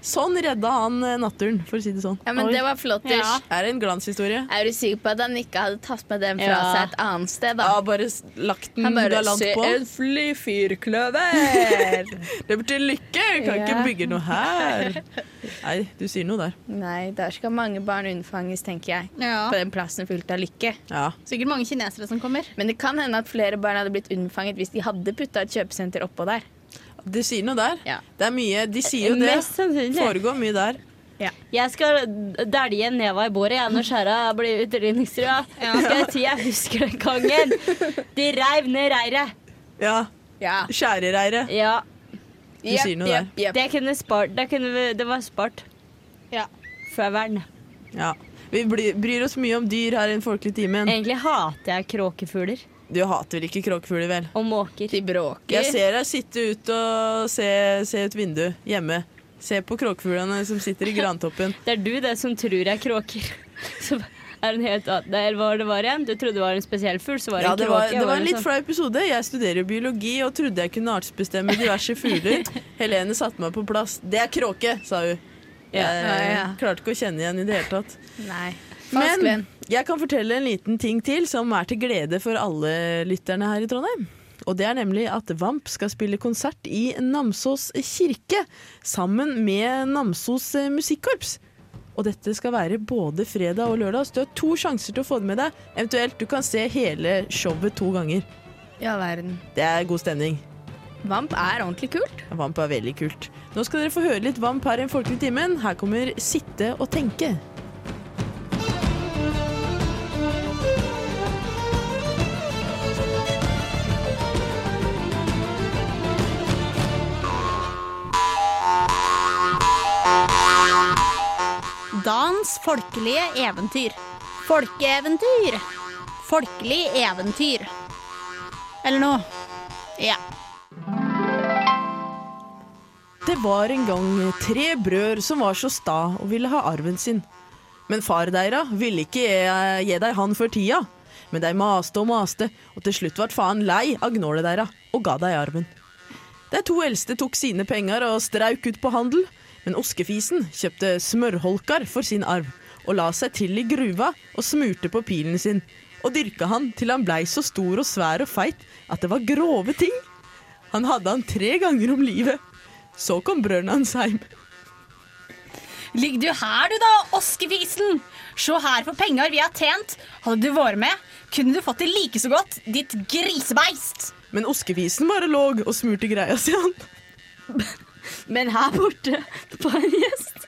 [SPEAKER 1] Sånn redda han eh, naturen, for å si det sånn.
[SPEAKER 2] Ja, men det var flotters.
[SPEAKER 4] Ja.
[SPEAKER 1] Er det en glanshistorie?
[SPEAKER 2] Er du sikker på at han ikke hadde tatt med den fra
[SPEAKER 3] Ja.
[SPEAKER 2] seg et annet sted,
[SPEAKER 1] Jeg
[SPEAKER 2] da?
[SPEAKER 1] har bare s- lagt den
[SPEAKER 2] Han bare
[SPEAKER 1] galant
[SPEAKER 2] Se
[SPEAKER 1] på.
[SPEAKER 2] en fly fyrkløver!
[SPEAKER 1] Det betyr lykke! Jeg kan
[SPEAKER 2] Ja.
[SPEAKER 1] ikke bygge noe her. Nei, du sier noe der.
[SPEAKER 2] Nei, der skal mange barn unnfanges, tenker jeg. På den plassen fullt av lykke.
[SPEAKER 1] Ja.
[SPEAKER 4] Sikkert mange kinesere som kommer.
[SPEAKER 2] Men det kan hende at flere barn hadde blitt unnfanget hvis de hadde putta et kjøpesenter oppå der.
[SPEAKER 1] Du sier noe der.
[SPEAKER 2] Ja.
[SPEAKER 1] Det er mye De sier jo det.
[SPEAKER 3] Mest sannsynlig.
[SPEAKER 1] Foregår mye der.
[SPEAKER 3] Jeg skal dælje neva i bordet jeg når skjæra blir utrydningstrua. Skal jeg si jeg husker den gangen. De reiv ned reiret.
[SPEAKER 1] Ja.
[SPEAKER 2] Ja.
[SPEAKER 1] Skjærereire.
[SPEAKER 3] Ja,
[SPEAKER 1] Du sier noe der.
[SPEAKER 3] det kunne spart. Det, kunne vi, det var spart.
[SPEAKER 4] Ja.
[SPEAKER 3] Fra vern.
[SPEAKER 1] Ja. Vi bli- bryr oss mye om dyr her i Den folkelige timen.
[SPEAKER 3] Egentlig hater jeg kråkefugler
[SPEAKER 1] Du hater vel ikke kråkefugler, vel?
[SPEAKER 3] og måker.
[SPEAKER 2] De bråker.
[SPEAKER 1] Jeg ser deg sitte ut og se, se ut vinduet hjemme. Se på kråkefuglene som sitter i grantoppen.
[SPEAKER 3] Det er du det som tror jeg kråker. Så er en helt annen. Eller hva det var igjen? Du trodde det var en spesiell fugl, så var det
[SPEAKER 1] Ja,
[SPEAKER 3] en
[SPEAKER 1] det
[SPEAKER 3] kråke.
[SPEAKER 1] var, det
[SPEAKER 3] og
[SPEAKER 1] var en litt
[SPEAKER 3] sånn-
[SPEAKER 1] flau episode. Jeg studerer jo biologi og trodde jeg kunne artsbestemme diverse fugler. Helene satte meg på plass. Det er kråke, sa hun. Jeg eh,
[SPEAKER 2] Ja, ja.
[SPEAKER 1] klarte ikke å kjenne igjen i det hele tatt.
[SPEAKER 2] Nei. Falsk
[SPEAKER 1] Men
[SPEAKER 2] venn.
[SPEAKER 1] jeg kan fortelle en liten ting til som er til glede for alle lytterne her i Trondheim. Og det er nemlig at Vamp skal spille konsert i Namsos kirke sammen med Namsos eh, musikkorps. Og dette skal være både fredag og lørdag, så du har to sjanser til å få det med deg. Eventuelt du kan se hele showet to ganger.
[SPEAKER 2] I all verden.
[SPEAKER 1] Det er god stemning.
[SPEAKER 2] Vamp er ordentlig kult.
[SPEAKER 1] Vamp er veldig kult. Nå skal dere få høre litt Vamp her i Den folkelige timen. Her kommer Sitte og tenke.
[SPEAKER 4] Dans folkelige eventyr. Folkeeventyr. Folkelig eventyr. Eller noe. Ja.
[SPEAKER 1] Det var en gang tre brødre som var så sta og ville ha arven sin. Men far deira ville ikke eh, gi dei han før tida. Men dei maste og maste, og til slutt vart faen lei av gnålet deira og ga dei arven. De to eldste tok sine penger og strauk ut på handel, men oskefisen kjøpte smørholkar for sin arv og la seg til i gruva og smurte på pilen sin. Og dyrka han til han blei så stor og svær og feit at det var grove ting. Han hadde han tre ganger om livet. Så kom brødrene hans hjem.
[SPEAKER 4] Ligg du her du da, oskefisen? Se her på penger vi har tjent. Hadde du vært med, kunne du fått det like så godt, ditt grisebeist.
[SPEAKER 1] Men oskefisen bare låg og smurte greia si han.
[SPEAKER 3] Men her borte på en gjest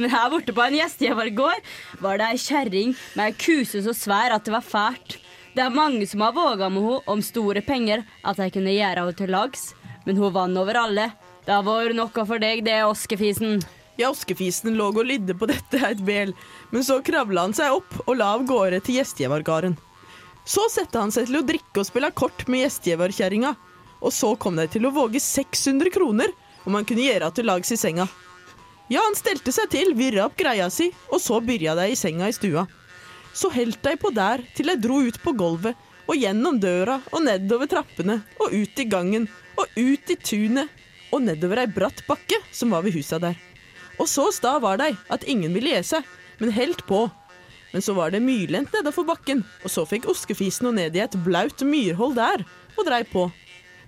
[SPEAKER 3] Men her borte på en gjest jeg var i går, var det ei kjerring med ei kuse så svær at det var fælt. Det er mange som har våga med henne om store penger at de kunne gjøre henne til lags, men hun vann over alle. Det har vært noe for deg, det, oskefisen.
[SPEAKER 1] Ja, oskefisen låg og lydde på dette et bel, men så kravla han seg opp og la av gårde til gjestgjevargarden. Så sette han seg til å drikke og spille kort med gjestgjevarkjerringa, og så kom de til å våge 600 kroner om han kunne gjøre til lags i senga. Ja, han stelte seg til, virra opp greia si, og så byrja dei i senga i stua. Så helt dei på der til dei dro ut på gulvet, og gjennom døra og nedover trappene, og ut i gangen, og ut i tunet, og nedover ei bratt bakke som var ved husa der. Og så sta var dei at ingen ville gi seg, men helt på. Men så var det myrlendt nedafor bakken, og så fikk oskefisen og ned i et blaut myrhold der, og drei på.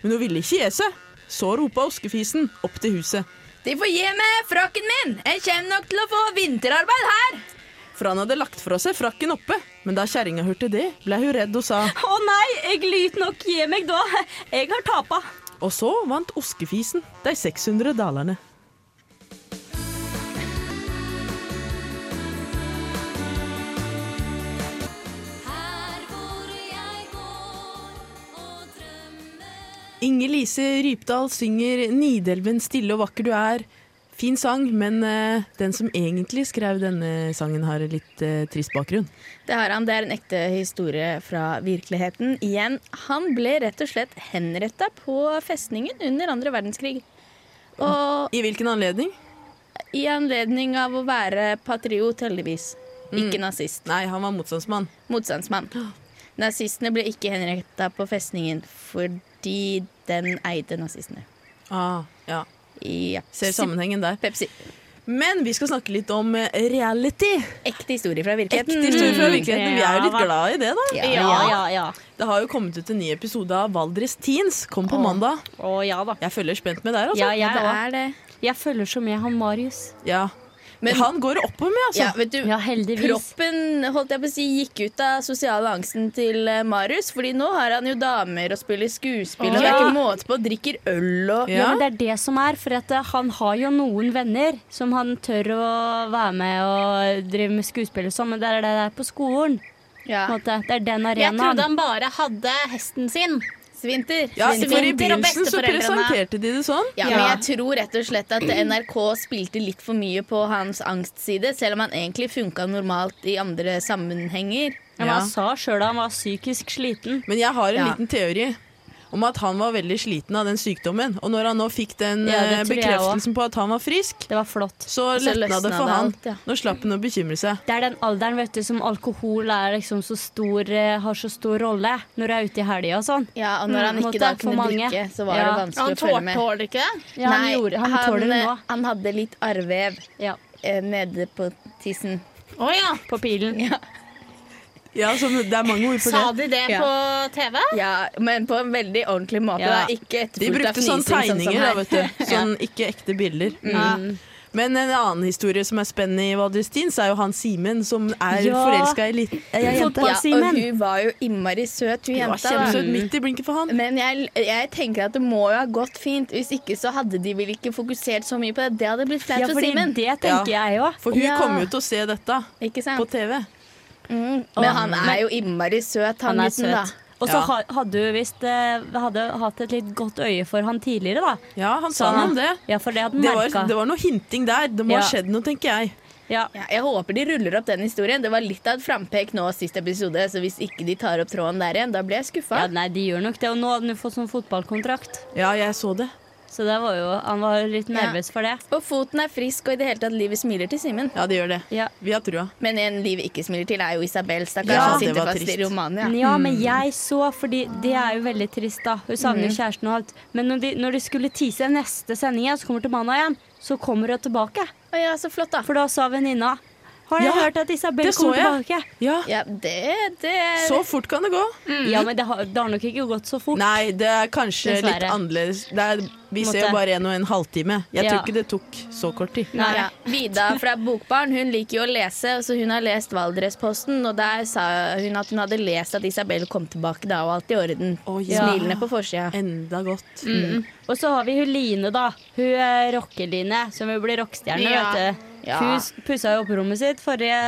[SPEAKER 1] Men hun ville ikke gi seg. Så ropa oskefisen opp til huset.
[SPEAKER 2] De får gi meg frakken min! Jeg kommer nok til å få vinterarbeid her!
[SPEAKER 1] For han hadde lagt fra seg frakken oppe, men da kjerringa hørte det, ble hun redd og sa
[SPEAKER 3] Å nei, jeg lyt nok gi meg da. Jeg har tapa.
[SPEAKER 1] Og så vant oskefisen de 600 dalerne. Inger-Lise Rypdal synger 'Nidelven stille og vakker du er'. Fin sang, men eh, den som egentlig skrev denne sangen, har en litt eh, trist bakgrunn.
[SPEAKER 2] Det har han, det er en ekte historie fra virkeligheten. Igjen, han ble rett og slett henretta på festningen under andre verdenskrig. Og
[SPEAKER 1] I hvilken anledning?
[SPEAKER 2] i anledning av å være patriot, heldigvis. Ikke nazist.
[SPEAKER 1] Nei, han var motstandsmann.
[SPEAKER 2] Motstandsmann. Nazistene ble ikke henretta på festningen fordi den eide nazistene.
[SPEAKER 1] Ah, ja.
[SPEAKER 2] Ja.
[SPEAKER 1] Ser sammenhengen der.
[SPEAKER 2] Pepsi.
[SPEAKER 1] Men vi skal snakke litt om eh, reality.
[SPEAKER 2] Ekte historie fra
[SPEAKER 1] Ekte
[SPEAKER 2] virkeligheten.
[SPEAKER 1] historie fra virkeligheten. Vi er jo litt
[SPEAKER 3] Ja, hva-
[SPEAKER 1] glad i det, da.
[SPEAKER 2] Ja.
[SPEAKER 3] ja, ja.
[SPEAKER 1] Det har jo kommet ut en ny episode av Valdres Teens. Kom på mandag.
[SPEAKER 3] Å ja da.
[SPEAKER 1] Jeg følger spent med der, altså.
[SPEAKER 3] Ja, jeg
[SPEAKER 2] Mm. Det
[SPEAKER 3] òg.
[SPEAKER 2] er det.
[SPEAKER 3] Jeg følger så med han Marius.
[SPEAKER 1] Ja. Men
[SPEAKER 2] Men-
[SPEAKER 1] han går oppover med, altså.
[SPEAKER 2] Ja, vet du,
[SPEAKER 3] Ja, heldigvis.
[SPEAKER 2] Proppen holdt jeg på å si, gikk ut av sosiale angsten til eh, Marius, fordi nå har han jo damer og spiller skuespill. Og det er
[SPEAKER 3] Ja.
[SPEAKER 2] ikke måte på og drikker øl og
[SPEAKER 3] Ja, men Det er det som er, for at eh, han har jo noen venner som han tør å være med og drive med skuespill og sånn, men det er det der på skolen.
[SPEAKER 2] ja.
[SPEAKER 3] På en måte. Det er den
[SPEAKER 4] Jeg trodde
[SPEAKER 3] arenaen.
[SPEAKER 4] han bare hadde hesten sin.
[SPEAKER 2] Svinter.
[SPEAKER 1] Ja,
[SPEAKER 2] Svinter.
[SPEAKER 1] for i
[SPEAKER 4] Svinter og
[SPEAKER 1] begynnelsen så
[SPEAKER 4] besteforeldrene.
[SPEAKER 1] presenterte de det sånn.
[SPEAKER 2] Ja,
[SPEAKER 4] Ja.
[SPEAKER 2] men jeg tror rett og slett at NRK spilte litt for mye på hans angstside, selv om han egentlig funka normalt i andre sammenhenger.
[SPEAKER 3] Ja, men
[SPEAKER 1] Ja.
[SPEAKER 3] Han sa sjøl han var psykisk sliten.
[SPEAKER 1] Men jeg har en
[SPEAKER 2] Ja.
[SPEAKER 1] liten teori om at han var veldig sliten av den sykdommen. Og når han nå fikk den
[SPEAKER 3] Ja, det
[SPEAKER 1] eh,
[SPEAKER 3] tror jeg
[SPEAKER 1] bekreftelsen på at han var frisk,
[SPEAKER 3] Det var flott.
[SPEAKER 1] så
[SPEAKER 2] Så
[SPEAKER 1] letna det
[SPEAKER 2] løsna
[SPEAKER 1] for
[SPEAKER 2] det
[SPEAKER 1] han.
[SPEAKER 2] alt, ja.
[SPEAKER 1] Nå slapp han å bekymre seg.
[SPEAKER 3] Det er den alderen vet du, som alkohol er liksom så stor, eh, har så stor rolle når du er ute i helga og sånn.
[SPEAKER 2] Ja, Og når han
[SPEAKER 3] Mm,
[SPEAKER 2] ikke
[SPEAKER 3] måtte
[SPEAKER 2] da
[SPEAKER 3] for
[SPEAKER 2] kunne
[SPEAKER 3] mange.
[SPEAKER 2] drikke, så var
[SPEAKER 3] Ja.
[SPEAKER 2] det
[SPEAKER 4] Han
[SPEAKER 2] vanskelig å følge
[SPEAKER 4] tål-
[SPEAKER 2] med.
[SPEAKER 4] tåler ikke det.
[SPEAKER 3] Ja, han,
[SPEAKER 2] Nei,
[SPEAKER 3] gjorde, han, tåler det nå.
[SPEAKER 2] eh, han hadde litt arrvev
[SPEAKER 3] Ja,
[SPEAKER 2] eh, nede på tissen.
[SPEAKER 4] Å ja.
[SPEAKER 3] på pilen.
[SPEAKER 1] Ja, så det er mange ord for
[SPEAKER 4] Sa
[SPEAKER 1] det.
[SPEAKER 4] de det
[SPEAKER 2] Ja.
[SPEAKER 4] på TV?
[SPEAKER 2] Ja, men på en veldig ordentlig måte.
[SPEAKER 3] Ja.
[SPEAKER 2] Da. Ikke
[SPEAKER 1] De
[SPEAKER 2] etterfulgt av
[SPEAKER 1] brukte sånn
[SPEAKER 2] fnising.
[SPEAKER 1] tegninger, da,
[SPEAKER 2] sånn
[SPEAKER 1] vet du. Sånn ikke ekte bilder. Men en annen historie som er spennende i Valdres Teens, er jo han Simen som er
[SPEAKER 3] Ja.
[SPEAKER 1] forelska i liten ei jente.
[SPEAKER 3] Fotball-
[SPEAKER 2] Ja, og
[SPEAKER 3] Simen.
[SPEAKER 2] hun var jo innmari søt, hun
[SPEAKER 1] Hun var
[SPEAKER 2] jenta. Da.
[SPEAKER 1] kjempesøt midt i blinken for han.
[SPEAKER 2] Men jeg, jeg tenker at det må jo ha gått fint. Hvis ikke så hadde de vel ikke fokusert så mye på det. Det hadde blitt flaut
[SPEAKER 3] Ja,
[SPEAKER 2] for
[SPEAKER 3] fordi
[SPEAKER 2] Simen.
[SPEAKER 3] det tenker jeg òg.
[SPEAKER 1] For hun
[SPEAKER 2] Ja.
[SPEAKER 1] kommer jo til å se dette
[SPEAKER 2] Ikke
[SPEAKER 1] på
[SPEAKER 2] sant?
[SPEAKER 1] TV.
[SPEAKER 2] Mm. Men han er jo innmari søt, han,
[SPEAKER 3] Han er
[SPEAKER 2] gutten,
[SPEAKER 3] søt.
[SPEAKER 2] da.
[SPEAKER 3] Og så
[SPEAKER 1] Ja.
[SPEAKER 3] ha- hadde hun visst eh, hadde hatt et litt godt øye for han tidligere, da.
[SPEAKER 1] Sånn. Ja, han sa noe om det.
[SPEAKER 3] Ja, for det hadde
[SPEAKER 1] Det
[SPEAKER 3] han
[SPEAKER 1] var,
[SPEAKER 3] merka.
[SPEAKER 1] det var noe hinting der. Det må ha
[SPEAKER 3] Ja.
[SPEAKER 1] skjedd noe, tenker jeg.
[SPEAKER 3] Ja.
[SPEAKER 2] Ja, jeg håper de ruller opp den historien. Det var litt av et frampek nå sist episode, så hvis ikke de tar opp tråden der igjen, da blir jeg skuffa.
[SPEAKER 3] ja, nei, de gjør nok det. Og nå hadde han jo fått sånn fotballkontrakt,
[SPEAKER 1] Ja, jeg så det.
[SPEAKER 3] så det var jo, han var jo litt
[SPEAKER 2] Ja.
[SPEAKER 3] nervøs for det.
[SPEAKER 2] Og foten er frisk, og i det hele tatt livet smiler til Simen.
[SPEAKER 1] Ja, det gjør det.
[SPEAKER 3] Ja.
[SPEAKER 1] Vi har trua.
[SPEAKER 2] Men en liv ikke smiler til, er jo Isabel, stakkars.
[SPEAKER 1] Ja,
[SPEAKER 2] som
[SPEAKER 1] det
[SPEAKER 2] sitter
[SPEAKER 1] var
[SPEAKER 2] fast
[SPEAKER 1] trist.
[SPEAKER 2] i Romania.
[SPEAKER 3] Ja, men jeg så, fordi det er jo veldig trist, da. Hun savner
[SPEAKER 1] Hmm.
[SPEAKER 3] jo kjæresten og alt. Men når de, når de skulle tease neste sending igjen, så kommer til mandag igjen, så kommer hun tilbake.
[SPEAKER 2] Å ja, så flott, da.
[SPEAKER 3] For da sa venninna Har dere
[SPEAKER 1] Ja,
[SPEAKER 3] hørt at Isabel
[SPEAKER 1] det så
[SPEAKER 3] kommer tilbake?
[SPEAKER 1] jeg. Ja,
[SPEAKER 2] Ja, det, det er
[SPEAKER 1] Så fort kan det gå.
[SPEAKER 3] Ja, men det har, det har nok ikke gått så fort.
[SPEAKER 1] Mm. Nei, det er kanskje litt
[SPEAKER 3] Dessverre.
[SPEAKER 1] annerledes. Det er, vi ser jo
[SPEAKER 3] Måtte.
[SPEAKER 1] bare en og en halvtime. Jeg
[SPEAKER 3] Ja.
[SPEAKER 1] tror ikke det tok så kort tid.
[SPEAKER 3] Nei.
[SPEAKER 2] Ja. Vida fra Bokbarn hun liker jo å lese, så hun har lest Valdresposten. Og der sa hun at hun hadde lest at Isabel kom tilbake da, og alt i orden.
[SPEAKER 1] Å, ja.
[SPEAKER 2] Smilende på forsida.
[SPEAKER 1] Enda godt.
[SPEAKER 3] Og så har vi hun Line, da. Hun eh, rockeline, som vil bli rockestjerne,
[SPEAKER 4] Ja.
[SPEAKER 3] vet du.
[SPEAKER 2] Ja.
[SPEAKER 3] Hun pussa jo opp rommet sitt forrige,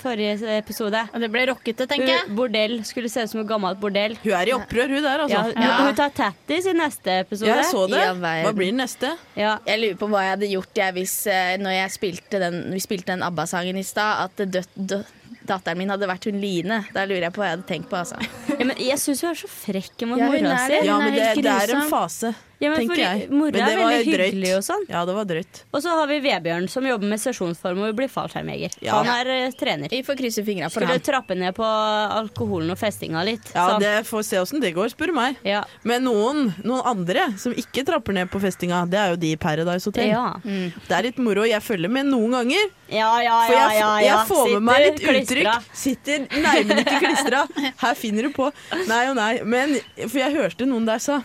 [SPEAKER 3] forrige episode.
[SPEAKER 4] Og det ble rockete,
[SPEAKER 3] Hun,
[SPEAKER 4] tenker jeg.
[SPEAKER 3] bordell skulle se ut som et gammelt bordell.
[SPEAKER 1] Hun er i opprør, hun der,
[SPEAKER 3] Ja,
[SPEAKER 1] altså.
[SPEAKER 3] hun,
[SPEAKER 2] sånn. Ja.
[SPEAKER 3] hun tar tattis i neste episode.
[SPEAKER 1] Ja, jeg så det.
[SPEAKER 2] Ja, verden.
[SPEAKER 1] Hva blir den neste?
[SPEAKER 3] Ja.
[SPEAKER 2] Jeg lurer på hva jeg hadde gjort jeg, hvis, eh, når jeg spilte den, vi spilte den ABBA-sangen i stad, at det død, død, datteren min hadde vært hun Line. Da lurer jeg på hva jeg hadde tenkt på. altså
[SPEAKER 3] Ja, men jeg syns hun er så frekk mot
[SPEAKER 2] Ja, hun
[SPEAKER 3] mora
[SPEAKER 2] er
[SPEAKER 3] si.
[SPEAKER 2] det.
[SPEAKER 1] Ja,
[SPEAKER 2] er
[SPEAKER 1] men det,
[SPEAKER 2] helt
[SPEAKER 1] det er en
[SPEAKER 2] grusom.
[SPEAKER 1] fase.
[SPEAKER 3] sånn. Ja, men
[SPEAKER 1] tenker jeg.
[SPEAKER 3] fordi Mora
[SPEAKER 1] Men det
[SPEAKER 3] er
[SPEAKER 1] var
[SPEAKER 3] veldig
[SPEAKER 1] drøyt.
[SPEAKER 3] hyggelig og sånn.
[SPEAKER 1] Ja, det var drøyt.
[SPEAKER 3] Og så har vi Vebjørn, som jobber med sesjonsform og blir fallskjermjeger.
[SPEAKER 1] Ja.
[SPEAKER 3] Han er eh, trener.
[SPEAKER 2] Vi får krysse fingra for
[SPEAKER 3] Skulle
[SPEAKER 2] ham.
[SPEAKER 3] trappe ned på alkoholen og festinga litt.
[SPEAKER 1] Ja,
[SPEAKER 3] sa han.
[SPEAKER 1] det får se åssen det går, spør du meg.
[SPEAKER 3] ja.
[SPEAKER 1] Men noen, noen andre som ikke trapper ned på festinga, det er jo de i Paradise Hotel.
[SPEAKER 3] Ja.
[SPEAKER 2] Mm.
[SPEAKER 1] Det er litt moro. Jeg følger med noen ganger,
[SPEAKER 3] Ja, ja,
[SPEAKER 1] for
[SPEAKER 3] ja,
[SPEAKER 1] jeg,
[SPEAKER 3] ja,
[SPEAKER 1] jeg
[SPEAKER 3] ja.
[SPEAKER 1] får med meg litt
[SPEAKER 3] Sitter klistra.
[SPEAKER 1] uttrykk. Sitter nærmere ikke klistra. Her finner du på. Nei og nei. Men, for jeg hørte noen der sa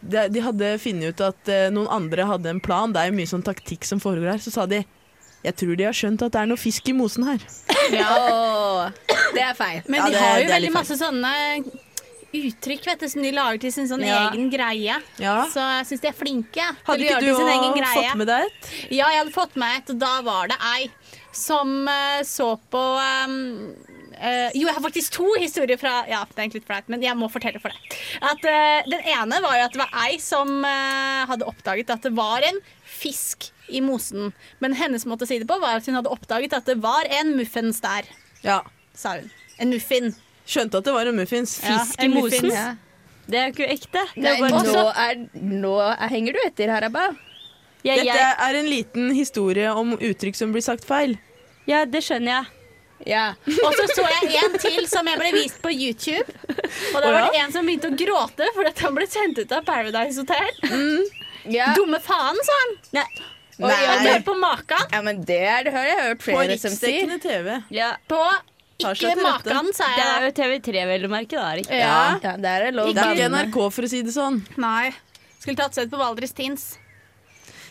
[SPEAKER 1] de, de hadde funnet ut at eh, noen andre hadde en plan. Det er jo mye sånn taktikk som foregår her. Så sa de jeg tror de har skjønt at det er noe fisk i mosen her.
[SPEAKER 2] Åh, det er feil.
[SPEAKER 4] Men
[SPEAKER 1] Ja,
[SPEAKER 4] de
[SPEAKER 1] det-
[SPEAKER 4] har jo
[SPEAKER 1] det er
[SPEAKER 4] veldig
[SPEAKER 1] litt
[SPEAKER 4] masse sånne uttrykk vet du, som de lager til sin sånn
[SPEAKER 3] Ja.
[SPEAKER 4] egen greie.
[SPEAKER 1] Ja.
[SPEAKER 4] Så jeg syns de er flinke.
[SPEAKER 1] Hadde
[SPEAKER 4] til å
[SPEAKER 1] ikke
[SPEAKER 4] gjøre
[SPEAKER 1] du
[SPEAKER 4] til sin egen
[SPEAKER 1] også
[SPEAKER 4] greie.
[SPEAKER 1] fått med deg et?
[SPEAKER 4] Ja, jeg hadde fått med et, og da var det ei som eh, så på eh, eh, Jo, jeg har faktisk to historier fra Ja, det er egentlig litt flaut, men jeg må fortelle for deg. At, eh, den ene var jo at det var ei som eh, hadde oppdaget at det var en fisk i mosen. Men hennes måte å si det på var at hun hadde oppdaget at det var en muffens der,
[SPEAKER 1] Ja.
[SPEAKER 4] sa hun. En muffin.
[SPEAKER 1] Skjønte at det var en muffins.
[SPEAKER 4] Ja,
[SPEAKER 3] Fisk i
[SPEAKER 4] en
[SPEAKER 3] mosen?
[SPEAKER 4] muffins.
[SPEAKER 2] Ja.
[SPEAKER 3] Det er jo ikke ekte. Det
[SPEAKER 2] Nei, nå,
[SPEAKER 3] er bare sånn.
[SPEAKER 2] er, nå er, henger du etter, Haraba.
[SPEAKER 3] Ja,
[SPEAKER 1] Dette
[SPEAKER 3] jeg,
[SPEAKER 1] er en liten historie om uttrykk som blir sagt feil.
[SPEAKER 3] ja, det skjønner jeg.
[SPEAKER 2] Ja.
[SPEAKER 4] Og så så jeg en til som jeg ble vist på YouTube. Og da
[SPEAKER 1] Å,
[SPEAKER 4] var det en som begynte å gråte fordi at han ble sendt ut av Paradise Hotel.
[SPEAKER 2] Ja.
[SPEAKER 4] Dumme faen, sa han.
[SPEAKER 3] Nei.
[SPEAKER 2] Oi, oi,
[SPEAKER 4] Og
[SPEAKER 2] oi.
[SPEAKER 4] hør på makan.
[SPEAKER 2] ja, men det er det har jeg hørt
[SPEAKER 1] På
[SPEAKER 2] flere som sier.
[SPEAKER 1] riksdekkende TV.
[SPEAKER 3] Ja,
[SPEAKER 4] På
[SPEAKER 1] Tar seg
[SPEAKER 4] ikke
[SPEAKER 1] til rette.
[SPEAKER 4] makan, sa
[SPEAKER 3] det er
[SPEAKER 4] jeg.
[SPEAKER 3] jo TV3, vel å merke. Da, er det ikke?
[SPEAKER 4] Ja.
[SPEAKER 2] Ja, der er lov
[SPEAKER 1] Det er ikke
[SPEAKER 2] banne.
[SPEAKER 1] NRK, for å si det sånn.
[SPEAKER 4] Nei. Skulle tatt seg ut på Valdres Teens.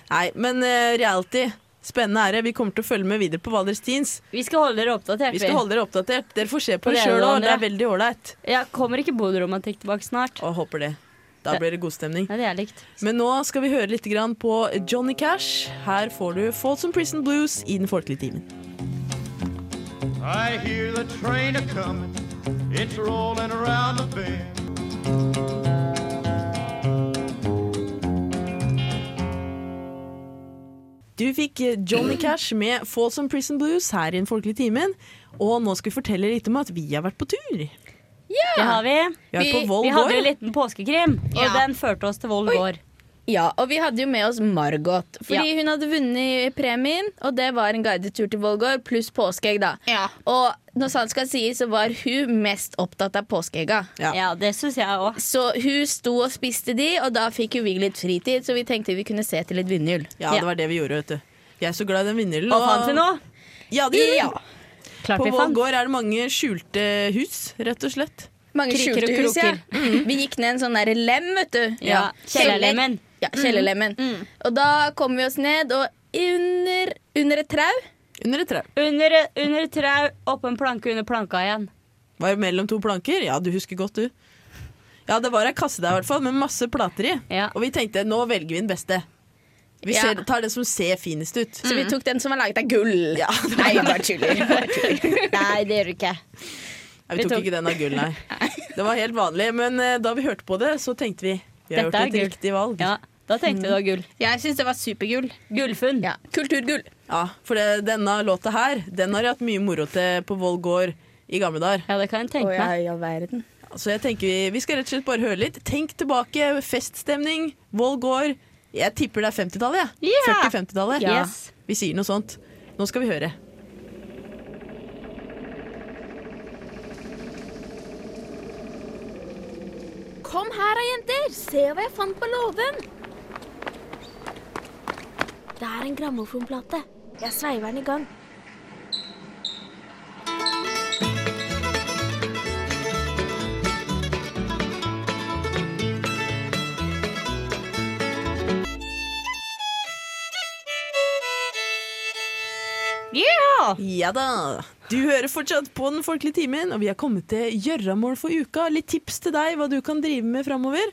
[SPEAKER 1] Nei, men eh, reality. Spennende er det. Vi kommer til å følge med videre på Valdres Teens.
[SPEAKER 3] Vi skal holde dere oppdatert.
[SPEAKER 1] Vi skal holde dere oppdatert. Dere får se
[SPEAKER 3] På
[SPEAKER 1] på det
[SPEAKER 3] det
[SPEAKER 1] sjøl
[SPEAKER 3] ene og
[SPEAKER 1] òg. Det er
[SPEAKER 3] andre.
[SPEAKER 1] veldig ålreit.
[SPEAKER 3] Ja, kommer ikke Bodø-romantikk tilbake snart?
[SPEAKER 1] Og håper det. Da blir det god stemning.
[SPEAKER 3] Nei, det er likt.
[SPEAKER 1] Men nå skal vi høre litt grann på Johnny Cash. Her får du Folsom Prison Blues i den folkelige timen.
[SPEAKER 6] I hear the train a coming, it's rolling around the bend.
[SPEAKER 1] Du fikk eh, Johnny Cash med Folsom Prison Blues her i den folkelige timen. Og nå skal vi fortelle litt om at vi har vært på tur. Vi
[SPEAKER 3] Det har vi.
[SPEAKER 1] har vært
[SPEAKER 2] Vi-
[SPEAKER 1] på Vold
[SPEAKER 3] Vi hadde en
[SPEAKER 1] gård.
[SPEAKER 3] liten påskekrim, og
[SPEAKER 4] Ja.
[SPEAKER 3] den førte oss til Vold gård.
[SPEAKER 2] Ja, og vi hadde jo med oss Margot. Fordi hun hadde vunnet premien, og det var en guidetur til Vollgård pluss påskeegg, da.
[SPEAKER 4] Ja.
[SPEAKER 2] Og når sant skal sies, så var hun mest opptatt av påskeegga.
[SPEAKER 1] Ja.
[SPEAKER 3] Ja, det syns jeg òg.
[SPEAKER 2] Så hun sto og spiste de, og da fikk jo vi litt fritid, så vi tenkte vi kunne se til et vindhjul.
[SPEAKER 1] Ja, det var det vi gjorde, vet du. Jeg er så glad i den vinneren.
[SPEAKER 3] Og fant vi noe?
[SPEAKER 1] Ja, det gjorde vi.
[SPEAKER 2] Ja.
[SPEAKER 3] Klart
[SPEAKER 1] På
[SPEAKER 3] vi
[SPEAKER 1] Vold
[SPEAKER 3] fant.
[SPEAKER 1] gård er det mange skjulte hus, rett og slett.
[SPEAKER 2] Mange
[SPEAKER 3] Kriker og
[SPEAKER 2] skjulte hus, ja.
[SPEAKER 3] kroker. Mm.
[SPEAKER 2] Vi gikk ned en sånn der lem, vet du.
[SPEAKER 3] Ja, Kjellerlemmen. Mm.
[SPEAKER 2] Ja, kjellerlemmen. Og da kom vi oss ned, og under, under et trau
[SPEAKER 1] Under et tre.
[SPEAKER 3] Under, under et trau, oppå en planke, under planka igjen.
[SPEAKER 1] Var det mellom to planker? Ja, du husker godt, du. Ja, det var ei kasse der i hvert fall, med masse plater i.
[SPEAKER 3] Ja.
[SPEAKER 1] Og vi tenkte nå velger vi den beste. Vi
[SPEAKER 2] Ja.
[SPEAKER 1] ser, tar den som ser finest
[SPEAKER 3] Mm.
[SPEAKER 1] ut.
[SPEAKER 2] Så vi tok den som var laget av gull. Nei, bare tuller. Bare tuller.
[SPEAKER 3] Nei, det gjør du ikke.
[SPEAKER 1] Nei, vi,
[SPEAKER 3] Vi
[SPEAKER 1] tok,
[SPEAKER 3] tok-
[SPEAKER 1] ikke den av gull, nei. Det var helt vanlig. Men eh, da vi hørte på det, så tenkte vi vi har
[SPEAKER 3] Dette
[SPEAKER 1] gjort
[SPEAKER 3] er
[SPEAKER 1] et
[SPEAKER 3] gull.
[SPEAKER 1] riktig valg.
[SPEAKER 3] Ja, da tenkte vi det var gull.
[SPEAKER 4] Jeg syns det var supergull.
[SPEAKER 3] Gullfunn.
[SPEAKER 2] Ja. Kulturgull.
[SPEAKER 1] Ja, For det, denne låta her, den har jeg hatt mye moro til på Voll gård i gamle dager.
[SPEAKER 3] Ja, det kan jeg tenke meg.
[SPEAKER 2] i all verden.
[SPEAKER 1] Så jeg tenker vi, vi skal rett og slett bare høre litt. Tenk tilbake. Feststemning. Voll gård. Jeg tipper det er 50-tallet, jeg.
[SPEAKER 3] Ja.
[SPEAKER 1] 40-50-tallet.
[SPEAKER 3] Ja. Yes.
[SPEAKER 1] Vi sier noe sånt. Nå skal vi høre.
[SPEAKER 7] Kom her da, jenter. Se hva jeg fant på låven. Det er en grammofonplate. Jeg sveiver den i gang.
[SPEAKER 3] Ja!
[SPEAKER 1] Ja da! Du hører fortsatt på Den folkelige timen, og vi har kommet til gjøramål for uka. Litt tips til deg hva du kan drive med framover.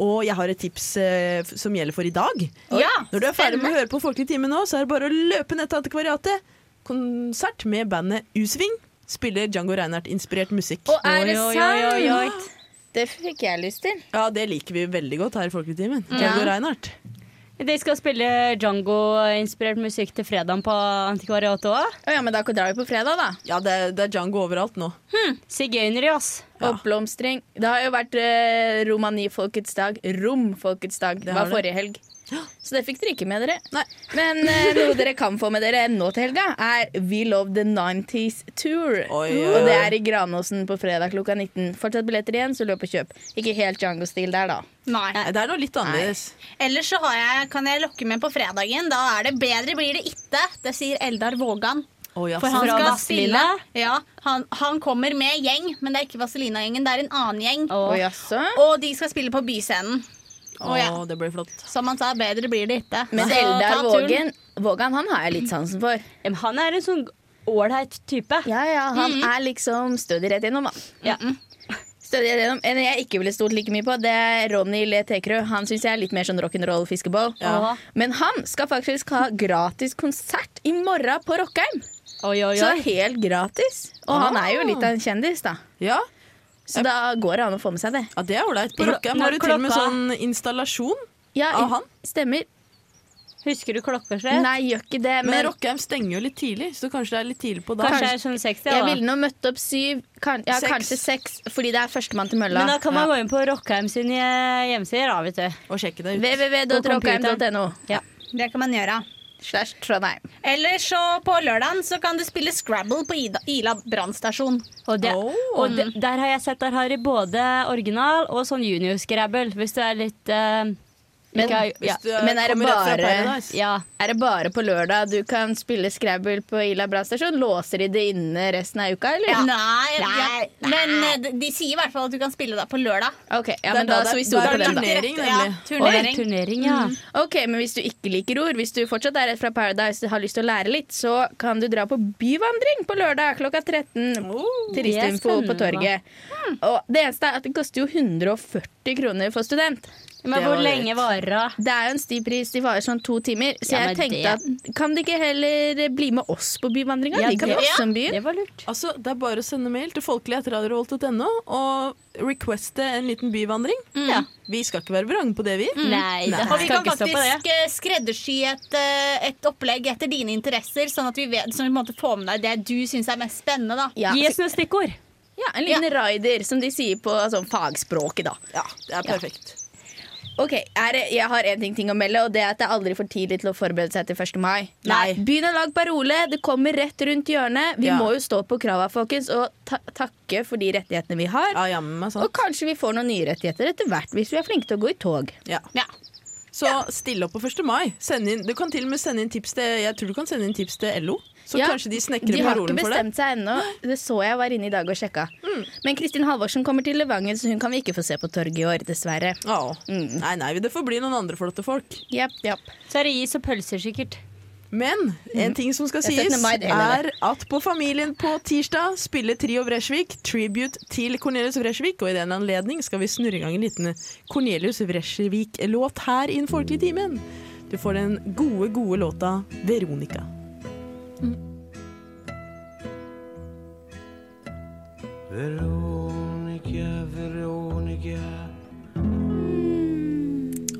[SPEAKER 1] Og jeg har et tips eh, f- som gjelder for i dag.
[SPEAKER 4] Ja,
[SPEAKER 1] Når du er ferdig med å høre på Folkelig time nå, så er det bare å løpe ned til Antikvariatet. Konsert med bandet U-Sving. Spiller Django Reinhardt-inspirert musikk.
[SPEAKER 2] Og er det
[SPEAKER 3] Oi, oi,
[SPEAKER 2] sant?
[SPEAKER 3] oi, oi, oi.
[SPEAKER 2] Det fikk jeg lyst til.
[SPEAKER 1] Ja, det liker vi veldig godt her i Folkelig timen. Django Reinhardt.
[SPEAKER 3] De skal spille Django-inspirert musikk til fredagen på Antikvariatet òg.
[SPEAKER 2] Å ja, men da drar vi på fredag, da.
[SPEAKER 1] Ja, det er, det er Django overalt nå.
[SPEAKER 3] Sigøynere, ass.
[SPEAKER 1] Ja.
[SPEAKER 2] Oppblomstring. Det har jo vært eh, romanifolkets dag. Romfolkets dag. Det
[SPEAKER 1] har
[SPEAKER 2] var
[SPEAKER 1] det.
[SPEAKER 2] forrige helg. Så det fikk dere ikke med dere.
[SPEAKER 1] Nei.
[SPEAKER 2] Men eh, noe dere kan få med dere nå til helga, er We Love the 90s Tour.
[SPEAKER 1] Oi, oi.
[SPEAKER 2] Og det er i Granåsen på fredag klokka 19. Fortsatt billetter igjen, så løp og kjøp. Ikke helt Django-stil der, da.
[SPEAKER 4] Nei.
[SPEAKER 1] Nei, Det er noe litt annerledes.
[SPEAKER 4] Ellers så har jeg, kan jeg lokke med på fredagen. Da er det bedre blir det ikke. Det sier Eldar Vågan.
[SPEAKER 1] Å, ja,
[SPEAKER 4] For han
[SPEAKER 3] Fra
[SPEAKER 4] skal spille.
[SPEAKER 3] Vazelina?
[SPEAKER 4] Ja, han, han kommer med gjeng, men det er ikke Vazelina-gjengen, det er en annen gjeng.
[SPEAKER 2] Å jaså?
[SPEAKER 4] Og de skal spille på Byscenen.
[SPEAKER 1] Å,
[SPEAKER 4] ja.
[SPEAKER 1] det blir flott.
[SPEAKER 4] Som han sa, bedre blir det ikke.
[SPEAKER 2] Men
[SPEAKER 4] Så ta
[SPEAKER 2] Eldar
[SPEAKER 4] turen.
[SPEAKER 2] Vågen, Vågan han har jeg litt sansen for.
[SPEAKER 3] Ja, men Han er en sånn ålreit type.
[SPEAKER 2] Ja, ja, Han er liksom stødig rett gjennom, da.
[SPEAKER 3] Ja.
[SPEAKER 2] Stødig rett gjennom. En jeg ikke ville stolt like mye på, det er Ronny Le Tekerø. Han syns jeg er litt mer sånn rock'n'roll-fiskeball.
[SPEAKER 3] Ja.
[SPEAKER 2] Men han skal faktisk ha gratis konsert i morgen på Rockheim.
[SPEAKER 3] Oi, oi,
[SPEAKER 2] Så
[SPEAKER 3] oi.
[SPEAKER 2] helt gratis. Og han er jo litt av en kjendis, da.
[SPEAKER 1] Ah. Ja,
[SPEAKER 2] Så da går det an å få med seg det.
[SPEAKER 1] ja det er ålreit. På
[SPEAKER 3] Når-
[SPEAKER 1] Rockheim har
[SPEAKER 3] når
[SPEAKER 1] du til og med
[SPEAKER 3] klokka-
[SPEAKER 1] sånn installasjon.
[SPEAKER 2] Ja,
[SPEAKER 1] Av han?
[SPEAKER 2] Stemmer.
[SPEAKER 3] Husker du klokkeslett?
[SPEAKER 2] Nei, gjør ikke det.
[SPEAKER 1] Men
[SPEAKER 2] Men
[SPEAKER 1] Rockheim stenger jo litt tidlig, så kanskje det er litt tidlig på da.
[SPEAKER 3] Kanskje jeg er sånn 60,
[SPEAKER 2] jeg
[SPEAKER 3] ja, da.
[SPEAKER 2] ville nå møtt opp syv, kan, ja,
[SPEAKER 1] Seks.
[SPEAKER 2] kanskje seks, fordi det er førstemann til mølla.
[SPEAKER 3] Men da kan man gå inn på Rockheim sin eh, hjemmesider, da, vet du.
[SPEAKER 1] Og sjekke det ut.
[SPEAKER 2] www.rockheim.no.
[SPEAKER 4] Det kan man gjøre.
[SPEAKER 2] Slash Trondheim.
[SPEAKER 4] Eller så på lørdagen så kan du spille Scrabble på Ida, Ila brannstasjon.
[SPEAKER 3] Og, det,
[SPEAKER 1] Oh.
[SPEAKER 3] og det, der har jeg sett der har de både original og sånn junior-scrabble, hvis du er litt eh,
[SPEAKER 2] Men-
[SPEAKER 3] ikke har- ja,
[SPEAKER 1] Hvis du eh,
[SPEAKER 2] Men er det
[SPEAKER 1] kommer rett fra
[SPEAKER 2] bare-
[SPEAKER 1] Paradise.
[SPEAKER 3] ja.
[SPEAKER 2] Er det bare på lørdag du kan spille Scrabble på Ila brannstasjon? Låser de det inne resten av uka, eller?
[SPEAKER 4] Nei, ja. Men eh, de- de sier i hvert fall at du kan spille da på lørdag.
[SPEAKER 2] eh, Ok, ja,
[SPEAKER 1] Det er
[SPEAKER 2] men da,
[SPEAKER 1] da det-
[SPEAKER 2] så vi
[SPEAKER 1] da
[SPEAKER 2] stoler
[SPEAKER 1] er
[SPEAKER 2] på
[SPEAKER 1] det
[SPEAKER 2] den, da.
[SPEAKER 1] turnering,
[SPEAKER 4] Rett-
[SPEAKER 1] nemlig.
[SPEAKER 4] Ja, turnering.
[SPEAKER 3] Turnering, ja.
[SPEAKER 2] Ok, men hvis du ikke liker ord, hvis du fortsatt er rett fra Paradise og har lyst til å lære litt, så kan du dra på byvandring på lørdag klokka 13. Turistinfo
[SPEAKER 3] Oh, det er
[SPEAKER 2] på
[SPEAKER 3] spennende. Hmm.
[SPEAKER 2] torget. Og det eneste er at det koster jo 140 kroner for student.
[SPEAKER 3] Men
[SPEAKER 1] Det
[SPEAKER 3] hvor
[SPEAKER 1] var
[SPEAKER 3] lenge varer det?
[SPEAKER 2] Det er jo en stiv pris, de varer sånn to timer. Så
[SPEAKER 3] Ja,
[SPEAKER 2] jeg
[SPEAKER 3] men
[SPEAKER 2] tenkte at kan de ikke heller bli med oss på byvandringa?
[SPEAKER 3] Ja,
[SPEAKER 2] de kan
[SPEAKER 3] det-
[SPEAKER 2] også om byen.
[SPEAKER 3] Det var lurt.
[SPEAKER 1] Altså, Det er bare å sende mail til folkelig.radiorevolt.no og requeste en liten byvandring.
[SPEAKER 3] Ja. Mm.
[SPEAKER 1] Vi skal ikke være vrange på det, vi.
[SPEAKER 2] Mm.
[SPEAKER 3] Nei, det
[SPEAKER 4] Og vi
[SPEAKER 3] skal
[SPEAKER 4] kan
[SPEAKER 3] ikke stå på det.
[SPEAKER 4] faktisk eh, skreddersy et, eh, et opplegg etter dine interesser, sånn at vi vet, sånn at vi på en måte får med deg det du syns er mest spennende. da.
[SPEAKER 2] Ja,
[SPEAKER 3] Gi oss noen stikkord.
[SPEAKER 2] ja, en liten rider, som de sier på sånn fagspråket, da.
[SPEAKER 1] Ja, det er perfekt.
[SPEAKER 2] Ok, er det, Jeg har én ting, ting å melde, og det er at det er aldri for tidlig til å forberede seg til 1. mai.
[SPEAKER 1] Nei.
[SPEAKER 2] Begynn å lage parole. Det kommer rett rundt hjørnet. Vi
[SPEAKER 1] Ja.
[SPEAKER 2] må jo stå på krava, folkens, og ta takke for de rettighetene vi har.
[SPEAKER 1] Ja, jammen meg sånn.
[SPEAKER 2] Og
[SPEAKER 1] sant.
[SPEAKER 2] kanskje vi får noen nye rettigheter etter hvert, hvis vi er flinke til å gå i tog.
[SPEAKER 1] Ja.
[SPEAKER 4] Ja.
[SPEAKER 1] Så still opp på 1. mai. Send inn, du kan til og med sende inn tips til Jeg tror du kan sende inn tips til LO, så
[SPEAKER 2] Ja,
[SPEAKER 1] kanskje de snekrer
[SPEAKER 2] De har ikke
[SPEAKER 1] parolen for Mm. deg.
[SPEAKER 2] bestemt seg ennå. Det så jeg var inne i dag og sjekka. Men Kristin Halvorsen kommer til Levanger, så hun kan vi ikke få se på torget i år, dessverre.
[SPEAKER 1] Ja.
[SPEAKER 2] Mm.
[SPEAKER 1] Nei, nei, det får bli noen andre flotte folk.
[SPEAKER 2] Japp, japp.
[SPEAKER 3] Så er det is og pølser, sikkert.
[SPEAKER 1] Men en ting som skal
[SPEAKER 2] Det er
[SPEAKER 1] sies,
[SPEAKER 2] 17. Mm. mai det
[SPEAKER 1] er
[SPEAKER 2] hele,
[SPEAKER 1] at på Familien på tirsdag spiller Trio Vresjvik tribute til Cornelius Vresjvik. Og i den anledning skal vi snurre i gang en liten Cornelius Vresjvik-låt her i Den folkelige timen. Du får den gode, gode låta 'Veronica'.
[SPEAKER 5] Veronica, Veronica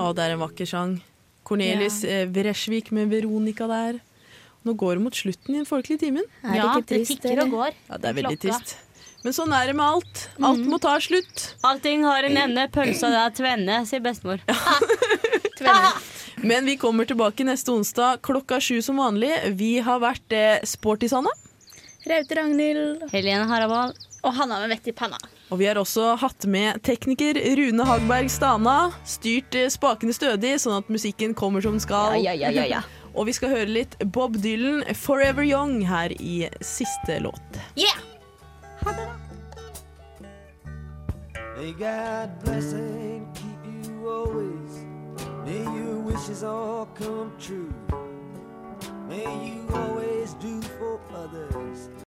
[SPEAKER 1] Å, det er en vakker sang. Cornelius eh, Vresjvik med 'Veronica' der. Nå går det mot slutten i Den folkelige timen.
[SPEAKER 2] Er
[SPEAKER 4] Ja,
[SPEAKER 2] det ikke trist?
[SPEAKER 4] tikker og
[SPEAKER 2] eller?
[SPEAKER 4] går.
[SPEAKER 1] Ja, det er veldig
[SPEAKER 4] Klokka.
[SPEAKER 1] trist. Men sånn er det med alt. Alt må ta slutt.
[SPEAKER 3] Allting har en ende. Pølsa det er tvenne, sier bestemor.
[SPEAKER 1] Men vi kommer tilbake neste onsdag klokka sju som vanlig. Vi har vært eh, sporty, Sanna.
[SPEAKER 2] Raute Ragnhild.
[SPEAKER 3] Helene Harabal.
[SPEAKER 4] Og Hanna med vett i panna.
[SPEAKER 1] Og vi har også hatt med tekniker Rune Hagberg Stana. Styrt eh, spakene stødig, sånn at musikken kommer som den skal. Og vi skal høre litt Bob Dylan, 'Forever Young', her i siste låt.
[SPEAKER 4] Yeah!
[SPEAKER 5] May God bless and keep you always. May your wishes all come true. May you always do for others